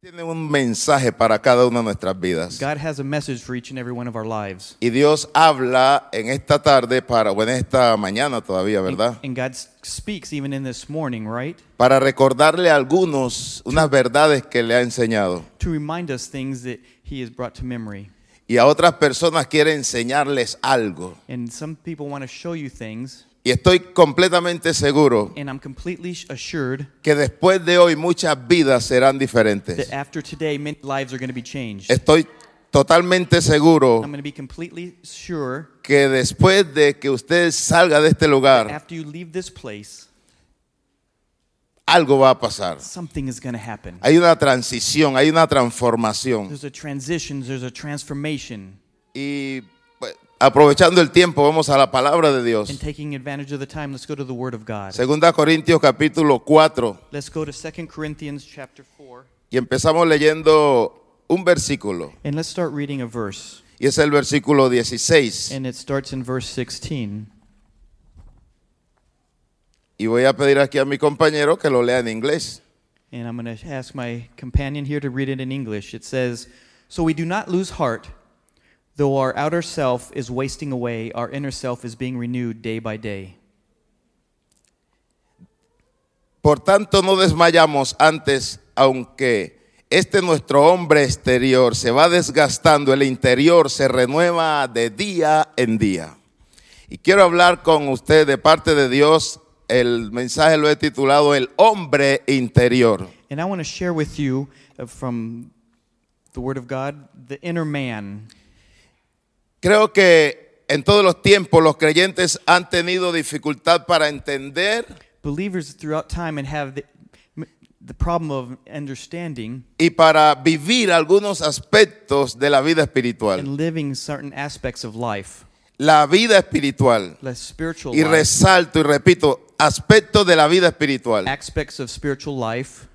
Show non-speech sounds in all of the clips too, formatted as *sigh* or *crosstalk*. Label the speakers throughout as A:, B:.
A: tiene un mensaje para cada una de nuestras vidas.
B: God has a message for each and every one of our lives.
A: Y Dios habla en esta tarde para, o en esta mañana todavía, ¿verdad?
B: And God s- speaks even in this morning, right?
A: Para recordarle a algunos unas verdades que le ha enseñado.
B: To remind us things that He has brought to memory.
A: Y a otras personas quiere enseñarles algo.
B: And some people want to show you things,
A: Y estoy completamente seguro
B: and I'm completely sh- assured
A: que después de hoy muchas vidas serán diferentes.
B: that after today, many lives are going to be changed.
A: Estoy totalmente seguro
B: I'm going to be completely sure
A: que después de que usted salga de este lugar,
B: after you leave this place,
A: algo va a pasar.
B: something is going to happen.
A: Hay una transición, hay una transformación.
B: There's a transition, there's a transformation.
A: Y pues, aprovechando el tiempo, vamos a la palabra de Dios.
B: And taking advantage of the time, let's go to the Word of God.
A: Segunda Corintios capítulo 4
B: Let's go to 2 Corinthians chapter 4,
A: y empezamos leyendo un versículo
B: and let's start reading a verse.
A: y es el versículo 16
B: And it starts in verse 16.
A: y voy a pedir aquí a mi compañero que lo lea en inglés.
B: And I'm going to ask my companion here to read it in English. It says, So we do not lose heart. Though our outer self is wasting away, our inner self is being renewed day by day.
A: Por tanto, no desmayamos antes, aunque este nuestro hombre exterior se va desgastando, el interior se renueva de día en día. Y quiero hablar con usted de parte de Dios. El mensaje lo he titulado El hombre interior.
B: And I want to share with you uh, from the Word of God the inner man.
A: Creo que en todos los tiempos los creyentes han tenido dificultad para entender
B: Believers throughout time and have the, m- the problem of understanding
A: y para vivir algunos aspectos de la vida espiritual.
B: and living certain aspects of life,
A: La vida espiritual.
B: less spiritual
A: y
B: life,
A: resalto y repito, aspectos de la vida espiritual.
B: aspects of spiritual life.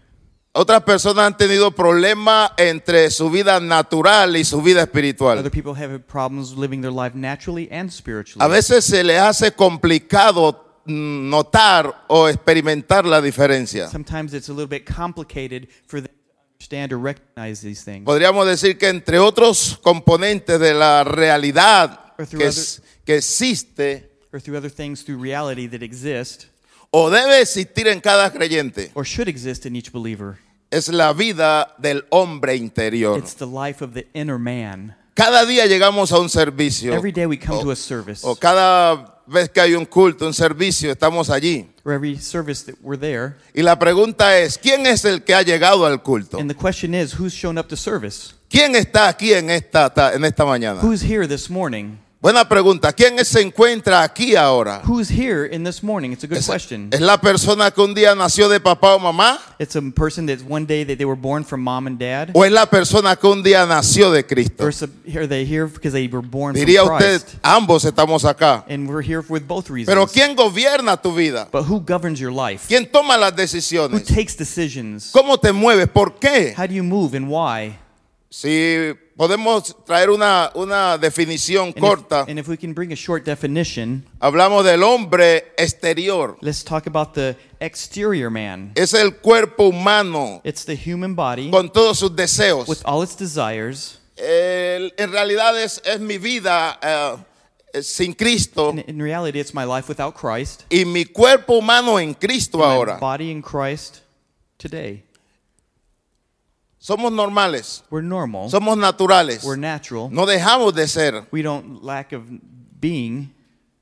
A: Otras personas han tenido problemas entre su vida natural y su vida
B: Other
A: espiritual.
B: people have problems living their life naturally and spiritually.
A: A veces se les hace complicado mm, notar o experimentar la diferencia.
B: Sometimes it's a little bit complicated for them to understand or recognize these things.
A: Podríamos decir que entre otros componentes de la realidad
B: Or through
A: que, es- que existe
B: or through other things through reality that exist
A: o debe existir en cada creyente
B: or should exist in each believer.
A: es la vida del hombre interior.
B: It's the life of the inner man.
A: Cada día llegamos a un servicio.
B: Every day we come to a service,
A: O cada vez que hay un culto, un servicio, estamos allí.
B: or every service that we're there.
A: Y la pregunta es, ¿quién es el que ha llegado al culto?
B: And the question is, who's shown up to service?
A: ¿Quién está aquí en esta, ta- en esta mañana?
B: Who's here this morning?
A: Buena pregunta. ¿Quién se encuentra aquí ahora?
B: Who's here in this morning? It's a good
A: ¿Es,
B: question.
A: es la persona que un día nació de papá o mamá?
B: It's a person that's one day that they were born from mom and dad,
A: ¿O es la persona que un día nació de Cristo?
B: or some- are they here because they were born from
A: Diría usted,
B: Christ?
A: ambos estamos acá.
B: And we're here with both
A: Pero
B: reasons.
A: ¿quién gobierna tu vida?
B: But who governs your life?
A: ¿Quién toma las
B: Who
A: decisiones?
B: takes decisions?
A: ¿Cómo te mueves? ¿Por qué?
B: How do you move and why?
A: Si podemos traer una, una definición
B: And if-
A: corta.
B: and if we can bring a short definition,
A: Hablamos del hombre exterior.
B: let's talk about the exterior man.
A: Es el cuerpo humano
B: It's the human body
A: con todos sus deseos.
B: with all its desires.
A: El- en realidad es, es mi vida eh, sin Cristo
B: In, in reality, it's my life without Christ.
A: y mi cuerpo humano en Cristo
B: my
A: ahora.
B: body in Christ today.
A: Somos normales,
B: We're normal.
A: somos naturales.
B: We're natural.
A: No dejamos de ser.
B: We don't lack of being.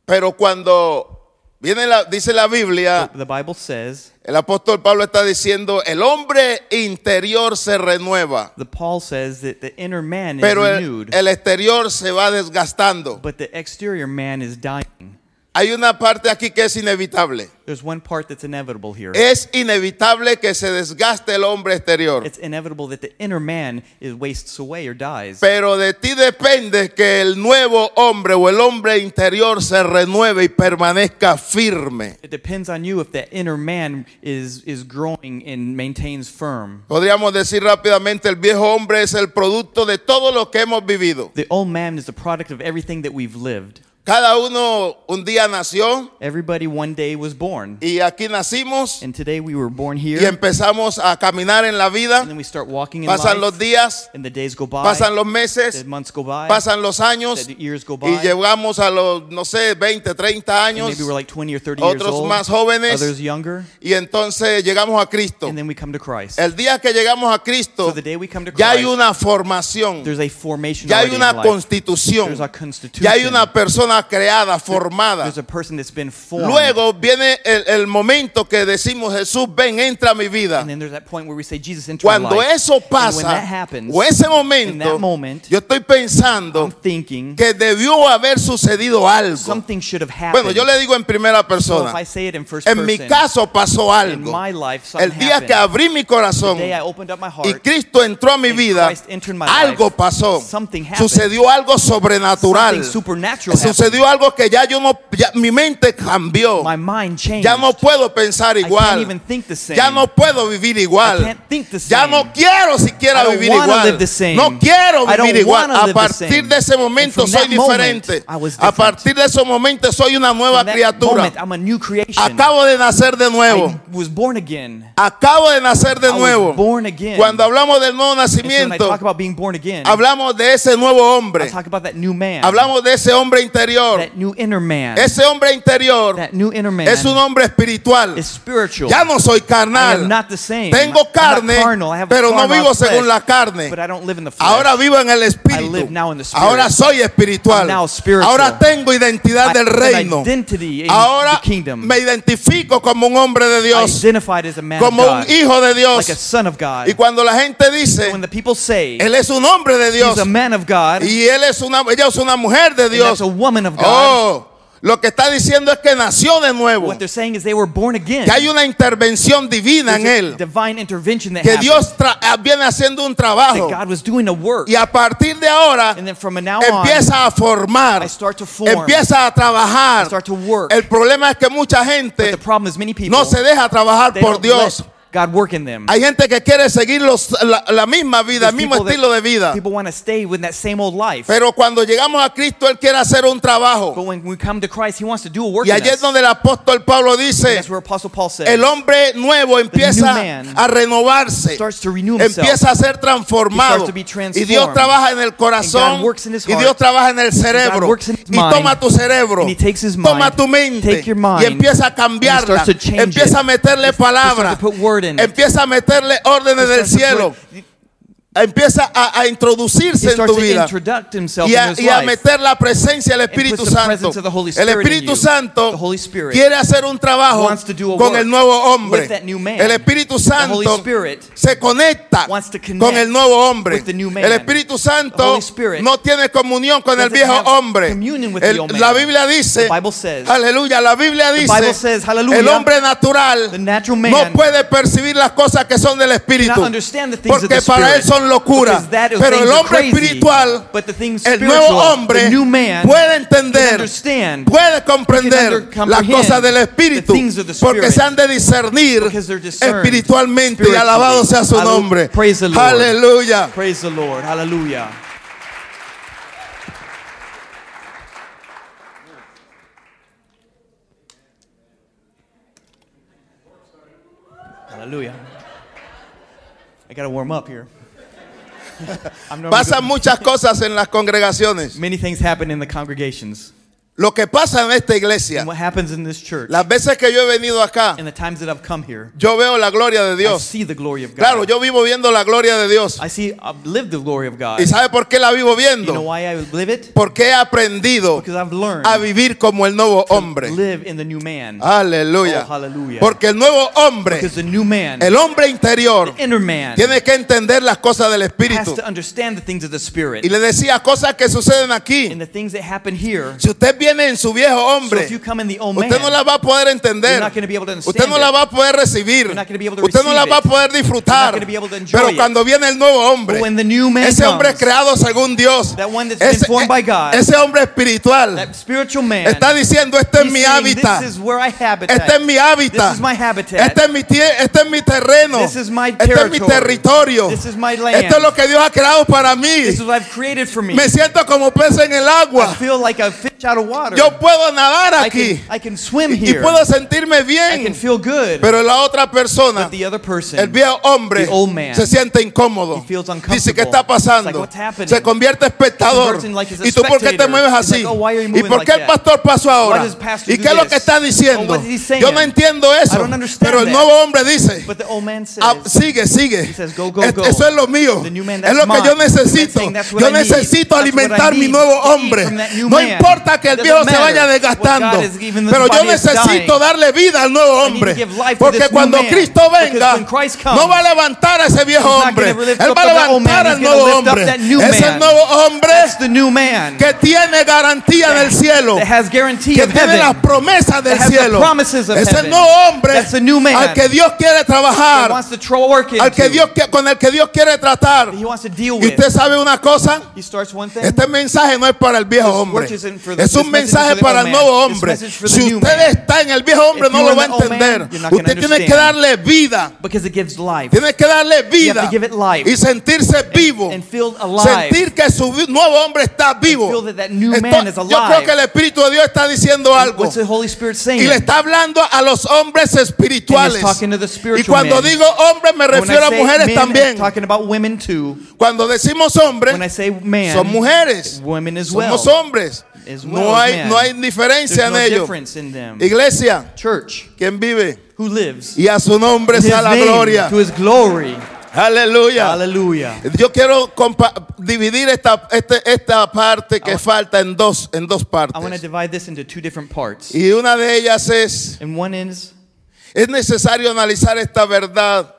A: Pero cuando viene la, dice la Biblia,
B: The Bible says,
A: el apóstol Pablo está diciendo, el hombre interior se renueva,
B: the Paul says that the inner man is
A: pero el,
B: renewed,
A: el exterior se va desgastando.
B: but the exterior man is dying.
A: Hay una parte aquí que es inevitable.
B: There's one part that's inevitable here.
A: Es inevitable que se desgaste el hombre exterior.
B: It's inevitable that the inner man is wastes away or dies.
A: Pero de ti depende que el nuevo hombre o el hombre interior se renueve y permanezca firme.
B: It depends on you if that inner man is is growing and maintains firm.
A: Podríamos decir rápidamente, el viejo hombre es el producto de todo lo que hemos vivido.
B: The old man is the product of everything that we've lived.
A: Cada uno un día nació
B: Everybody one day was born.
A: y aquí nacimos
B: And today we were born
A: y
B: here.
A: empezamos a caminar en la vida.
B: And then we start walking in
A: Pasan los
B: life.
A: días,
B: And the days go by.
A: pasan los
B: The
A: meses,
B: months go by.
A: pasan los años
B: The years go by.
A: y llegamos a los, no sé, 20, 30
B: And
A: años
B: maybe we're like 20 or 30 years
A: otros
B: old.
A: más jóvenes.
B: Others younger.
A: y entonces llegamos a Cristo.
B: And then we come to Christ.
A: El día que llegamos a
B: So
A: Cristo,
B: the day we come to
A: ya hay
B: Christ,
A: una formación,
B: there's a formation
A: ya hay
B: already in
A: una
B: life.
A: constitución,
B: There's a constitution.
A: ya hay una persona creada, formada.
B: There's a person that's been formed.
A: Luego viene el, el momento que decimos, Jesús, ven, entra a mi vida.
B: And then there's that point where we say, Jesus, enter my
A: Cuando
B: life.
A: eso
B: and when
A: pasa,
B: that happens,
A: o ese
B: in that
A: momento,
B: moment,
A: yo estoy
B: I'm
A: pensando
B: thinking
A: que debió haber sucedido algo.
B: something should have happened.
A: Bueno, yo le digo en primera
B: so if I
A: persona,
B: say it in first
A: en
B: person,
A: mi caso pasó
B: in
A: algo.
B: my life, something
A: El día que
B: happened.
A: abrí mi
B: the
A: corazón
B: day I opened up my heart,
A: y Cristo entró a mi
B: and
A: vida,
B: Christ entered my
A: algo
B: life,
A: pasó.
B: something happened.
A: Sucedió algo sobrenatural.
B: something supernatural happened.
A: Sucedió algo que ya yo no, ya mi mente cambió.
B: My mind changed.
A: Ya no puedo pensar
B: I can't even
A: igual.
B: think the same.
A: Ya no puedo vivir
B: I
A: igual.
B: can't think the same.
A: Ya no quiero siquiera
B: I don't
A: vivir
B: wanna
A: igual.
B: live the same.
A: No quiero
B: I don't
A: vivir igual.
B: wanna
A: A
B: live the
A: partir
B: same.
A: de ese momento
B: And from
A: soy
B: that moment,
A: diferente.
B: I was
A: A
B: different.
A: partir de ese momento soy una nueva
B: From that
A: criatura.
B: moment, I'm a new creation.
A: Acabo de nacer de nuevo.
B: I was born again.
A: Acabo de nacer de
B: I was
A: nuevo.
B: born again.
A: Cuando hablamos del nuevo
B: And so when I
A: nacimiento,
B: talk about being born again,
A: hablamos de ese nuevo
B: I
A: hombre.
B: talk about that new man,
A: Hablamos de ese hombre interior.
B: that new inner man.
A: Ese hombre interior
B: that new inner man
A: es un hombre espiritual.
B: is spiritual.
A: Ya no soy
B: I am
A: carnal.
B: not the same. I'm
A: Tengo
B: not
A: carne,
B: carnal. I have a
A: pero no
B: carnal
A: vivo
B: flesh,
A: según la carne.
B: But I don't live in the flesh.
A: Ahora vivo en el
B: I
A: espíritu.
B: live now in the spirit.
A: Ahora soy espiritual.
B: I'm now spiritual.
A: Ahora tengo identidad
B: I
A: del
B: have an
A: reino.
B: identity in
A: Ahora
B: the kingdom.
A: me identifico como un hombre de Dios,
B: identified as a man
A: como
B: of God,
A: un hijo de
B: like a
A: Dios.
B: son of God.
A: Y cuando la gente dice,
B: when the people say
A: él es un hombre de Dios
B: he's a man of God, and
A: y él es una, ella es una mujer de
B: that's
A: Dios,
B: a woman of God,
A: Oh, lo que está diciendo es que nació de nuevo.
B: what they're saying is they were born again.
A: Que hay una intervención divina
B: There's
A: en
B: a
A: él.
B: divine intervention that
A: Que
B: happened,
A: Dios tra- ah, viene haciendo un
B: that
A: trabajo.
B: God was doing a work.
A: Y a partir de ahora
B: and then from now on,
A: empieza a formar.
B: I start to form,
A: Empieza a
B: I
A: trabajar.
B: start to work.
A: El problema es que mucha
B: but the
A: gente
B: problem is many people,
A: no se deja trabajar
B: they
A: por
B: don't
A: Dios.
B: let God work in them.
A: Hay gente que quiere seguir los- la, la misma vida, el
B: There's
A: mismo
B: people that-
A: estilo de vida.
B: People want to stay with that same old life.
A: Pero cuando llegamos a Cristo, Él quiere hacer un
B: But
A: trabajo.
B: when we come to Christ, He wants to do a work
A: Y
B: in
A: allí es
B: us.
A: donde el apóstol Pablo dice,
B: That's where Apostle Paul says,
A: El hombre nuevo empieza
B: man
A: a renovarse,
B: starts to renew himself.
A: empieza a ser
B: He starts
A: transformado.
B: to be
A: Y
B: transformed.
A: Dios trabaja en el corazón,
B: And God works in his
A: y
B: heart.
A: Dios trabaja en el cerebro.
B: works in his
A: Y toma
B: mind.
A: tu cerebro,
B: And he takes his
A: toma
B: mind.
A: tu mente,
B: Take your mind.
A: y empieza a cambiarla,
B: And he starts to change
A: empieza a
B: it.
A: meterle
B: He starts
A: palabra,
B: to put word in it.
A: empieza a meterle
B: He
A: órdenes del
B: starts to
A: cielo,
B: put-
A: empieza a, a
B: He
A: introducirse en
B: starts
A: tu
B: to
A: vida.
B: introduct himself
A: Y a,
B: in his
A: y a
B: life.
A: meter la presencia del Espíritu
B: puts the
A: Santo.
B: presence of the Holy
A: El
B: Spirit in
A: Espíritu
B: you.
A: Santo
B: The Holy Spirit
A: quiere hacer un trabajo
B: wants to do a
A: con
B: work
A: el nuevo hombre.
B: with that new man.
A: El Espíritu
B: Holy
A: Santo
B: Spirit
A: se conecta
B: wants to connect
A: con el nuevo hombre.
B: with the new man.
A: El Espíritu
B: The
A: Santo
B: Holy Spirit
A: no tiene comunión con el
B: doesn't
A: viejo
B: have
A: hombre.
B: communion with
A: El-
B: the old man.
A: la Biblia dice,
B: The Bible says-
A: aleluya, la Biblia dice,
B: Bible says, hallelujah,
A: el hombre natural
B: the natural
A: no
B: man
A: puede percibir las cosas que son del Espíritu.
B: understand the things of
A: Porque
B: the
A: para él
B: Spirit.
A: son locuras.
B: Because that are
A: Pero el
B: things are
A: hombre
B: crazy.
A: espiritual
B: But the things
A: el
B: spiritual,
A: nuevo hombre
B: the new man,
A: puede entender,
B: understand,
A: puede
B: can
A: comprender
B: under- comprehend
A: las cosas del
B: the
A: Espíritu,
B: things of the Spirit.
A: porque se han de discernir
B: Because they're discerned
A: espiritualmente y
B: spiritually.
A: alabado sea su
B: Hallelu-
A: nombre.
B: Praise the Lord.
A: Aleluya.
B: Praise the Lord. Hallelujah. Hallelujah. I got to warm up here. *laughs* I'm normally
A: Pasan muchas cosas en las
B: good-
A: congregaciones.
B: Many things happen in the congregations.
A: Lo que pasa en esta iglesia,
B: And what happens in this church
A: las veces que yo he venido acá,
B: and the times that I've come here,
A: yo veo la gloria de
B: I
A: Dios.
B: see the glory of God.
A: Claro, yo vivo viendo la gloria de Dios.
B: I see, I've lived the glory of God.
A: ¿Y sabe por qué la vivo
B: You know
A: viendo?
B: why I live it?
A: Porque he aprendido
B: Because I've learned
A: a vivir como el nuevo hombre.
B: live in the new man.
A: Aleluya.
B: Oh, hallelujah.
A: Porque el nuevo hombre,
B: Because the new man,
A: el hombre interior,
B: inner man,
A: tiene que entender las cosas del
B: has
A: Espíritu.
B: to understand the things of the spirit
A: Y le decía cosas que suceden aquí.
B: and the things that happen here.
A: Si usted viene en su viejo
B: So if
A: hombre,
B: you come in the old man,
A: usted no la va a poder entender.
B: You're not gonna be able to understand
A: Usted no la
B: it.
A: va a poder recibir.
B: not gonna be able to
A: Usted no la
B: receive
A: va a
B: it.
A: poder
B: You're not
A: disfrutar.
B: gonna be able to enjoy
A: Pero
B: it.
A: cuando viene el nuevo hombre,
B: but when the new man
A: ese
B: comes,
A: hombre creado según Dios,
B: That one that's
A: ese, eh,
B: been formed by God.
A: ese hombre espiritual,
B: that spiritual man,
A: está diciendo, este es
B: he's
A: mi
B: saying,
A: hábitat.
B: this is where I habitat.
A: Este es mi
B: This
A: hábitat.
B: is my habitat.
A: Este es mi, tie- este es mi terreno.
B: This is my
A: este es mi
B: territory.
A: territorio.
B: This is my land.
A: Esto es lo que Dios ha creado para mí.
B: this is what I've created for me.
A: Me siento como pez en el
B: I
A: agua.
B: feel like a fish out of water.
A: Yo puedo nadar
B: I
A: aquí
B: can, I can swim
A: y
B: here.
A: puedo sentirme
B: I can
A: bien,
B: feel good.
A: pero la otra persona,
B: but the other person,
A: el viejo hombre,
B: the old man,
A: se siente incómodo.
B: he feels uncomfortable.
A: Dice que está
B: It's like,
A: pasando.
B: "What's happening?"
A: Se convierte en espectador.
B: He converts in like he's a
A: ¿Y tú por qué te
B: spectator.
A: mueves
B: He's
A: así?
B: like, "Oh, why are
A: ¿Y
B: you moving
A: por
B: like
A: qué el
B: that?
A: pastor pasó ahora?
B: does pastor
A: ¿Y
B: do
A: qué es lo
B: this?
A: que está diciendo?
B: Oh, what is he
A: Yo
B: saying?
A: no entiendo
B: I
A: eso.
B: don't understand
A: Pero el
B: that.
A: nuevo hombre dice.
B: but the old man says,
A: Ah, sigue, sigue.
B: says, "Go, go,
A: Es-
B: go."
A: Eso es lo mío.
B: The new man,
A: es
B: that's
A: lo que yo
B: mine. That's
A: necesito.
B: saying, "That's what
A: Yo
B: I need.
A: necesitar
B: That's what I
A: alimentar mi
B: need
A: nuevo
B: to eat
A: hombre.
B: from that new
A: No
B: man.
A: importa que el
B: Doesn't
A: viejo se
B: matter
A: vaya
B: what
A: desgastando.
B: God is giving, this
A: Pero yo
B: body is
A: necesito
B: dying.
A: darle vida al nuevo
B: need to
A: hombre.
B: give life to
A: Porque
B: this new
A: cuando
B: man.
A: Cristo
B: Because
A: venga,
B: when Christ comes,
A: no va a levantar a ese viejo
B: not
A: hombre.
B: gonna lift
A: Él
B: up
A: va a
B: that old man.
A: levantar al
B: He's gonna
A: nuevo
B: lift up
A: hombre.
B: that new
A: Es el
B: man.
A: nuevo hombre
B: That's the new man
A: que tiene garantía del cielo.
B: that has guarantee
A: Que
B: of
A: tiene las
B: heaven.
A: promesas del
B: that has the
A: cielo.
B: promises of
A: Es el
B: heaven.
A: nuevo hombre
B: That's the new man.
A: al que Dios quiere
B: That
A: trabajar
B: wants to throw work into.
A: al que Dios que- con el que Dios quiere tratar.
B: He wants to deal
A: Y
B: with.
A: usted sabe una cosa,
B: He starts one thing.
A: este mensaje no es para el viejo hombre.
B: word isn't for the-
A: Es un
B: this message is
A: mensaje
B: for the
A: para
B: old
A: el
B: man.
A: nuevo
B: This
A: hombre.
B: message for the
A: Si
B: new
A: usted
B: man.
A: está en el viejo hombre
B: If
A: no
B: you
A: lo
B: are
A: va a
B: the old man,
A: entender.
B: you're not gonna
A: Usted tiene que
B: understand.
A: darle vida.
B: because it gives life
A: Tiene que darle vida
B: give it life.
A: y sentirse vivo.
B: and feel alive.
A: Sentir que su vi- nuevo hombre está vivo.
B: feel that that new
A: Esto-
B: man is
A: yo creo
B: alive.
A: que el Espíritu de Dios está diciendo algo.
B: What's the Holy Spirit saying?
A: Y le está hablando a los hombres espirituales.
B: And he's talking to the
A: Y
B: spiritual
A: cuando
B: men.
A: digo hombres me
B: When I
A: refiero a
B: say
A: mujeres
B: men,
A: también.
B: I'm talking about women too.
A: Cuando decimos
B: When I
A: hombres,
B: say man,
A: son mujeres.
B: women as well.
A: Somos hombres.
B: As well
A: No
B: as
A: hay,
B: men.
A: no hay diferencia
B: There's
A: en
B: no
A: ello.
B: difference in them.
A: Iglesia,
B: Church,
A: quien vive
B: who lives?
A: y a su nombre
B: To his
A: sea la
B: name,
A: gloria.
B: To his glory.
A: Aleluya.
B: Hallelujah.
A: Yo quiero compa- dividir esta, este- esta parte que falta en dos, en dos
B: I want to
A: partes.
B: divide this into two different parts.
A: Y una de ellas es,
B: And one is
A: es necesario analizar esta verdad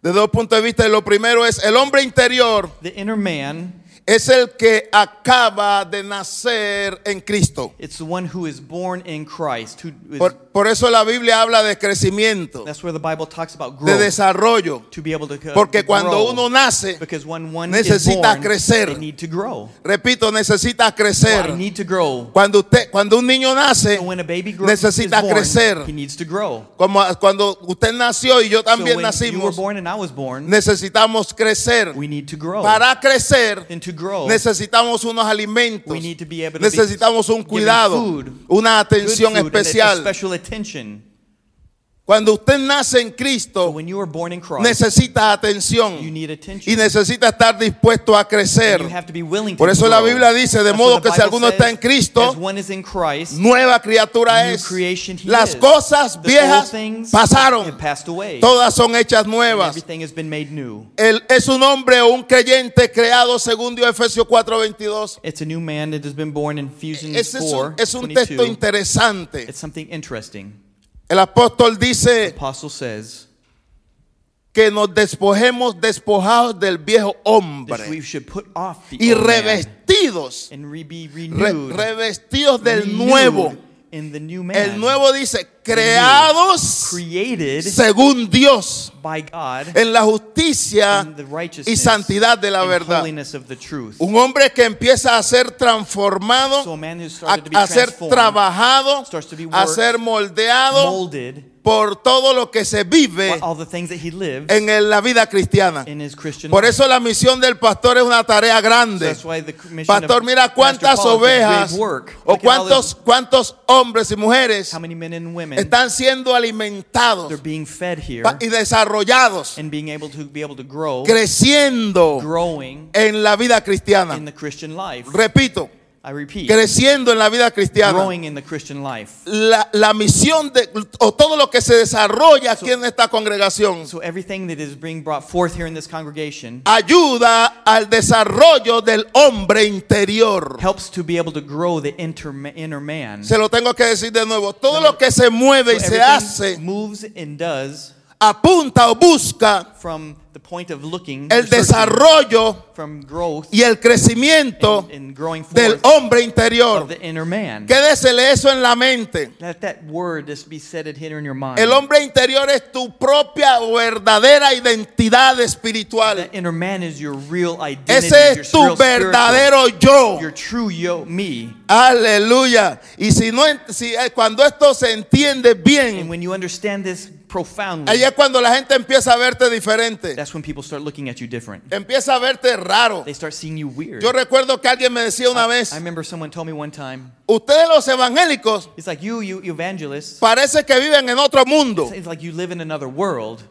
A: desde dos puntos de vista. Y lo primero es, el hombre interior
B: the inner man.
A: es el que acaba de nacer en Cristo.
B: It's the one who is born in Christ. Who is,
A: Por, por eso la Biblia habla de crecimiento,
B: that's where the Bible talks about
A: de
B: growth.
A: desarrollo,
B: to be able to uh,
A: porque cuando
B: grow.
A: uno nace,
B: because when one is
A: necesita
B: born,
A: crecer.
B: they need to grow.
A: repito, necesita
B: I
A: crecer.
B: need to grow.
A: Cuando usted, cuando un niño nace,
B: So when a baby grows,
A: necesita
B: is born,
A: crecer.
B: He needs to grow.
A: como a- cuando usted nació y yo
B: so
A: también
B: when you were
A: nacimos,
B: born and I was born,
A: necesitamos crecer.
B: we need to grow.
A: Para crecer,
B: and to grow,
A: necesitamos unos alimentos,
B: we need to be able to
A: necesitamos un
B: be given
A: cuidado,
B: food,
A: una
B: good
A: atención
B: food and a- a
A: especial.
B: special attention.
A: Cuando usted nace en
B: So
A: Cristo,
B: when you are born in Christ,
A: necesita
B: you
A: atención
B: need
A: y
B: attention.
A: necesita estar dispuesto a
B: and
A: crecer.
B: you have to be willing to
A: Por eso la
B: grow.
A: Biblia dice, de
B: That's
A: modo
B: what the
A: que si
B: Bible
A: alguno está en
B: says,
A: Cristo,
B: as one is in Christ,
A: Nueva criatura
B: new
A: es.
B: creation he
A: Las
B: is.
A: cosas
B: The old
A: viejas
B: things
A: pasaron,
B: have passed away.
A: todas son hechas
B: and
A: nuevas.
B: everything has been made new.
A: Él es un hombre o un creyente creado según Dios Efesios 4:22.
B: It's a new man that has been born in Fusion
A: Ese es
B: 4.
A: un, es un
B: 22.
A: texto interesante.
B: It's something interesting.
A: El apóstol dice
B: Apostle says
A: que nos despojemos despojados del viejo
B: that we
A: hombre
B: should put off the
A: y
B: old man
A: revestidos,
B: and re- be
A: re-
B: renewed,
A: revestidos del
B: renewed
A: nuevo.
B: in the new man.
A: El nuevo dice creados
B: created
A: según Dios
B: by God
A: en la justicia
B: in the righteousness
A: y santidad de la
B: and
A: verdad.
B: holiness of the truth.
A: Un hombre que empieza a ser transformado,
B: So a man who started to be
A: a, a ser
B: transformed,
A: trabajado,
B: starts to be
A: a
B: worked,
A: ser moldeado
B: molded
A: por todo lo que se
B: by
A: vive
B: all the things that he lived
A: en el- la vida cristiana.
B: in his Christian
A: Por
B: life.
A: eso la misión del pastor es una tarea
B: So
A: grande.
B: that's why the commission
A: Pastor,
B: of
A: mira
B: Pastor
A: cuántas
B: Paul is a great
A: ovejas
B: work.
A: o
B: Look at all
A: cuántos,
B: the-
A: cuántos hombres y mujeres
B: how many men and women
A: están siendo
B: they're
A: alimentados
B: being fed here
A: pa- y desarrollados,
B: and being able to be able to grow,
A: creciendo
B: growing
A: en la vida
B: in
A: cristiana.
B: the Christian life.
A: Repito,
B: I repeat,
A: creciendo en la vida cristiana.
B: growing in the Christian life.
A: la, la misión de, o todo lo que se desarrolla aquí en esta congregación
B: So everything that is being brought forth here in this congregation
A: ayuda al desarrollo del hombre interior.
B: helps to be able to grow the inter- inner man.
A: Se lo tengo que decir de nuevo. Todo lo que se mueve y
B: So
A: se
B: everything
A: hace
B: moves and does
A: apunta o busca
B: from the point of looking
A: el
B: or searching
A: desarrollo
B: from growth
A: y el crecimiento
B: and, and growing
A: del
B: forth
A: hombre
B: of
A: interior.
B: the inner man.
A: Quédesele eso en la mente.
B: Let that word just be said it here in your mind.
A: El hombre interior es tu propia o verdadera identidad espiritual.
B: That inner man is your real identity.
A: Ese
B: your
A: es tu
B: real spiritual-
A: verdadero yo.
B: Your true yo, me.
A: Aleluya. Y si no, ent- si, eh, cuando esto se entiende
B: And
A: bien,
B: when you understand this profoundly,
A: Allá es cuando la gente empieza a verte diferente,
B: that's when people start looking at you different.
A: empieza a verte raro.
B: They start seeing you weird.
A: Yo recuerdo que alguien me decía una vez,
B: I remember someone told me one time,
A: ustedes los evangélicos
B: it's like you, you evangelists,
A: parece que viven en otro mundo.
B: it's like you live in another world.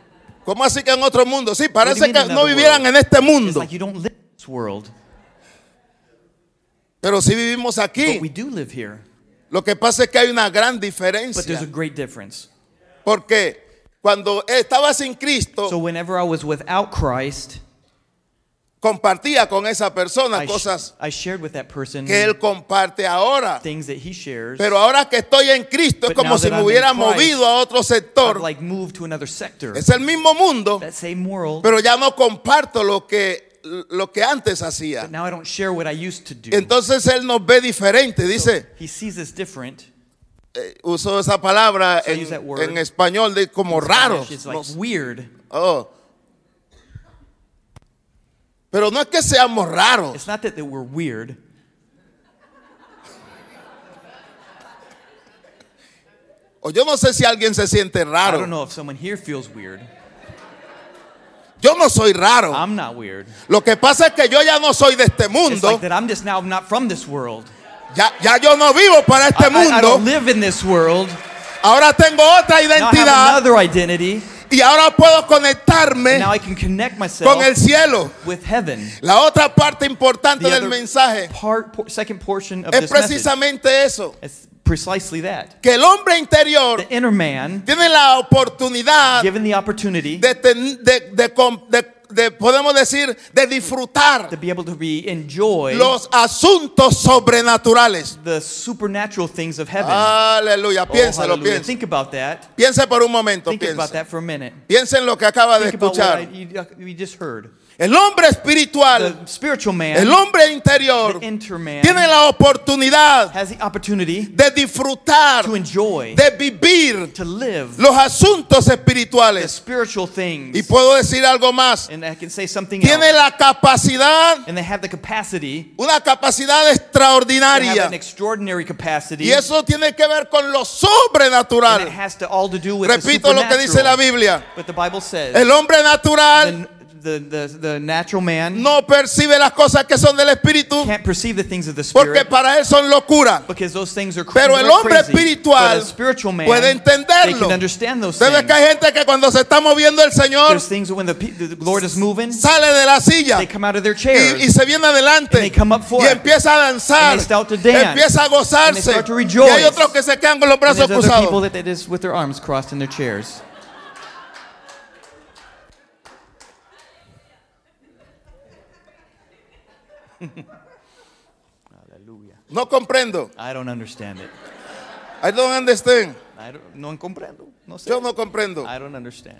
A: ¿Cómo así que en otro mundo? Sí,
B: What
A: parece
B: do you mean
A: que
B: in
A: no
B: other
A: vivieran
B: world?
A: en este
B: It's
A: mundo,
B: like you don't live in this world,
A: pero sí vivimos
B: but we
A: aquí.
B: do live here.
A: Lo que pasa es que hay una gran
B: But there's a
A: diferencia,
B: great difference.
A: porque cuando estaba sin
B: So
A: Cristo,
B: whenever I was without Christ,
A: compartía con esa persona
B: I, sh-
A: cosas
B: I shared with that person
A: que él comparte ahora.
B: things that he shares.
A: Pero ahora que estoy en Cristo es
B: But
A: como
B: now
A: si
B: that
A: me
B: I'm
A: hubiera
B: in Christ,
A: movido a otro
B: I've
A: sector.
B: like moved to another sector.
A: Es el mismo mundo,
B: That same world.
A: pero ya no comparto lo que, lo que antes hacía.
B: Now I don't share what I used to do.
A: Entonces él nos ve diferente,
B: So
A: dice,
B: he sees us different.
A: eh, usó esa palabra
B: So I
A: en,
B: use that word.
A: en español de como raro.
B: It's like
A: no-
B: weird.
A: oh. Pero no es que seamos raros,
B: It's not that, that we're weird.
A: o yo no sé si alguien se siente
B: I don't
A: raro.
B: know if someone here feels weird.
A: Yo no soy raro.
B: I'm not weird.
A: Lo que pasa es que yo ya no soy de este
B: Ah. It's like
A: mundo,
B: that I'm just now not from this world.
A: ya, ya yo no vivo para
B: I,
A: este
B: I, I don't
A: mundo,
B: live in this world.
A: ahora tengo otra
B: Now I
A: identidad.
B: have another identity.
A: Y ahora puedo conectarme
B: Now I can connect myself
A: Eh. con el cielo.
B: with heaven.
A: La otra parte importante
B: The
A: del
B: other
A: mensaje
B: Part, por, second portion of
A: es
B: this message.
A: precisamente eso,
B: It's precisely that.
A: que el hombre interior
B: The inner man,
A: tiene la oportunidad
B: given the opportunity
A: de, ten- de- de com- de- de, podemos decir, de
B: to
A: disfrutar
B: be able to be enjoy
A: los asuntos sobrenaturales.
B: the supernatural things of heaven.
A: Ah, Aleluya,
B: Oh,
A: piénsalo,
B: hallelujah.
A: piensa.
B: Think about that.
A: Piense por un momento,
B: Think about
A: piensa.
B: that for a minute.
A: Piensa en lo que acaba de
B: Think about what I,
A: escuchar.
B: you, uh, you just heard.
A: El hombre espiritual,
B: The spiritual man,
A: el hombre interior,
B: the inner man,
A: tiene la oportunidad
B: has the opportunity
A: de disfrutar,
B: to enjoy,
A: de vivir
B: to live
A: los asuntos
B: the
A: espirituales.
B: spiritual
A: Y
B: things.
A: puedo decir algo más.
B: And I can say something
A: Tiene
B: else.
A: la capacidad,
B: And they have the capacity,
A: una capacidad
B: they have
A: extraordinaria.
B: an extraordinary capacity.
A: Y eso tiene que ver con lo
B: and it
A: sobrenatural.
B: has to all to do with
A: Repito
B: the
A: lo que dice la
B: supernatural.
A: Biblia.
B: But the Bible says
A: El hombre natural
B: the, the, the, the natural man
A: no percibe las cosas que son del espíritu
B: can't perceive the things of the
A: porque
B: spirit
A: para él son locura.
B: because those things are cr-
A: Pero el
B: they're
A: hombre
B: crazy. But
A: espiritual
B: a spiritual man
A: puede
B: they
A: entenderlo.
B: can understand those
A: Ustedes
B: things.
A: que hay gente que cuando se está moviendo el Señor
B: There's things that when the, pe- the Lord is moving,
A: sale de la silla.
B: they come out of their chairs
A: y, y se viene
B: And
A: adelante
B: they come up for
A: y
B: it.
A: empieza a danzar,
B: And they start to dance.
A: empieza a
B: And they
A: gozarse.
B: start to
A: Y
B: rejoice.
A: hay otros que se quedan con los
B: and
A: brazos
B: there's other people
A: cruzados.
B: that they just with their arms crossed in their chairs. Hallelujah.
A: No comprendo.
B: I don't understand it.
A: I don't understand.
B: I don't, no comprendo. No sé.
A: Yo no comprendo.
B: I don't understand.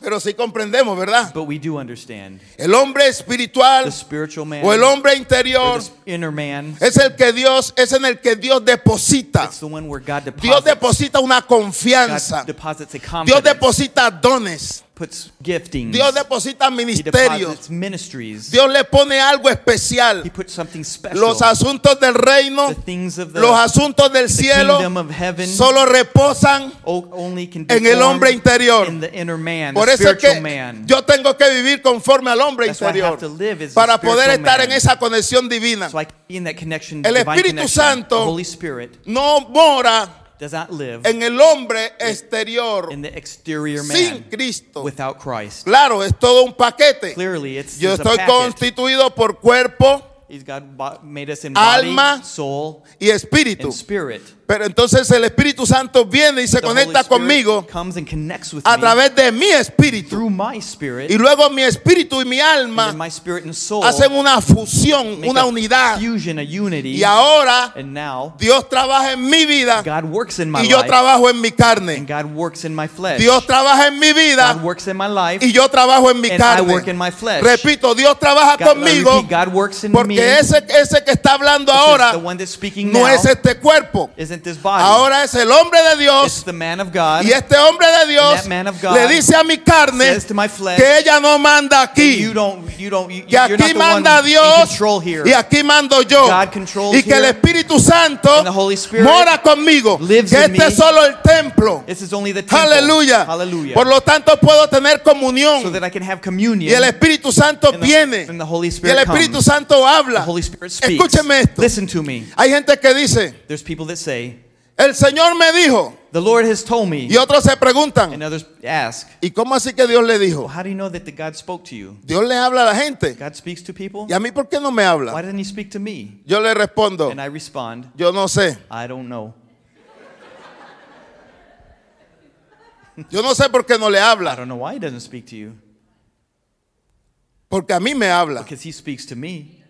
A: Pero sí comprendemos, ¿verdad?
B: But we do understand.
A: El hombre espiritual
B: The spiritual man,
A: o el hombre
B: or
A: interior
B: the inner man,
A: es el que Dios es en el que Dios deposita.
B: it's the one where God
A: Dios
B: deposits,
A: deposita una confianza.
B: God deposits a
A: Dios
B: confidence,
A: deposita dones.
B: puts giftings,
A: Dios deposita
B: he
A: ministerios.
B: deposits ministries,
A: Dios le pone algo
B: he
A: especial.
B: puts something special,
A: Los asuntos del reino
B: the things of the,
A: Los asuntos del
B: the
A: cielo
B: kingdom of heaven
A: solo reposan.
B: o- only can be
A: en el hombre
B: formed
A: interior.
B: in the inner man,
A: Por
B: the
A: eso es
B: spiritual
A: que
B: man.
A: yo tengo que vivir conforme al hombre
B: That's why I
A: interior
B: have to live as the
A: para poder
B: spiritual
A: estar
B: man.
A: en esa conexión divina.
B: so I can be in that connection,
A: El
B: divine
A: Espíritu
B: connection.
A: Santo-
B: the Holy Spirit
A: No mora
B: does not live
A: en el hombre exterior
B: in the exterior
A: sin
B: man
A: Cristo.
B: without Christ.
A: Claro, es todo un paquete.
B: Clearly, it's
A: Yo
B: it's a
A: estoy
B: package.
A: constituido por cuerpo
B: He's God bo- made us in
A: Alma
B: body, soul,
A: y espíritu.
B: and spirit.
A: Pero entonces el Espíritu Santo viene y se
B: The Holy
A: conecta
B: Spirit
A: conmigo
B: comes and connects with
A: a
B: me
A: través de mi espíritu.
B: through my spirit,
A: Y luego mi espíritu y mi
B: and then
A: alma
B: my spirit and soul
A: hacen una fusión,
B: make
A: una
B: a
A: unidad.
B: fusion, a unity.
A: Y ahora
B: and now
A: Dios trabaja en mi vida
B: God works in my
A: y yo
B: life,
A: trabajo en mi
B: and
A: carne.
B: God works in my flesh.
A: Dios trabaja en mi
B: God
A: vida
B: works in my life,
A: y yo trabajo en mi
B: and I work in
A: carne.
B: my flesh.
A: Repito, Dios trabaja
B: God, I
A: conmigo
B: repeat, God works in me.
A: porque ese, ese que está hablando
B: because
A: ahora
B: the one that's speaking
A: no
B: now
A: es este cuerpo.
B: isn't with this body.
A: Ahora es el hombre de
B: it's
A: Dios
B: the man of God
A: y este hombre de Dios
B: that man of God
A: le dice a mi carne
B: says to my flesh,
A: que ella no manda
B: that you
A: aquí,
B: don't, you don't, you,
A: que
B: you're not
A: aquí
B: the one
A: manda
B: in
A: Dios
B: control here.
A: y aquí mando yo
B: God controls
A: y que el
B: here,
A: Espíritu Santo
B: and the Holy Spirit
A: mora conmigo, que
B: lives in
A: este
B: me.
A: es solo el templo.
B: This is only the temple.
A: Aleluya.
B: Hallelujah.
A: Por lo tanto puedo tener
B: so
A: comunión
B: that I can have
A: y el
B: communion.
A: Espíritu Santo
B: and the-
A: viene
B: and the Holy
A: y el
B: Spirit
A: Espíritu
B: comes.
A: Santo
B: The
A: habla.
B: Holy Spirit speaks.
A: Escúcheme esto.
B: Listen to me.
A: Hay gente que dice,
B: There's people that say,
A: el Señor me dijo
B: "The Lord has told me,"
A: y otros se preguntan,
B: and others ask,
A: ¿y cómo así que Dios le dijo?
B: "Well, how do you know that the God spoke to you?
A: Dios le habla a la gente.
B: God speaks to people.
A: ¿Y a mí por qué no me
B: Why
A: habla?
B: didn't He speak to me?"
A: Yo le respondo,
B: And I respond,
A: yo no sé.
B: "I don't know.
A: Yo no sé por qué no le
B: I
A: habla.
B: don't know why He doesn't speak to you,
A: Porque a mí me habla.
B: because He speaks to me,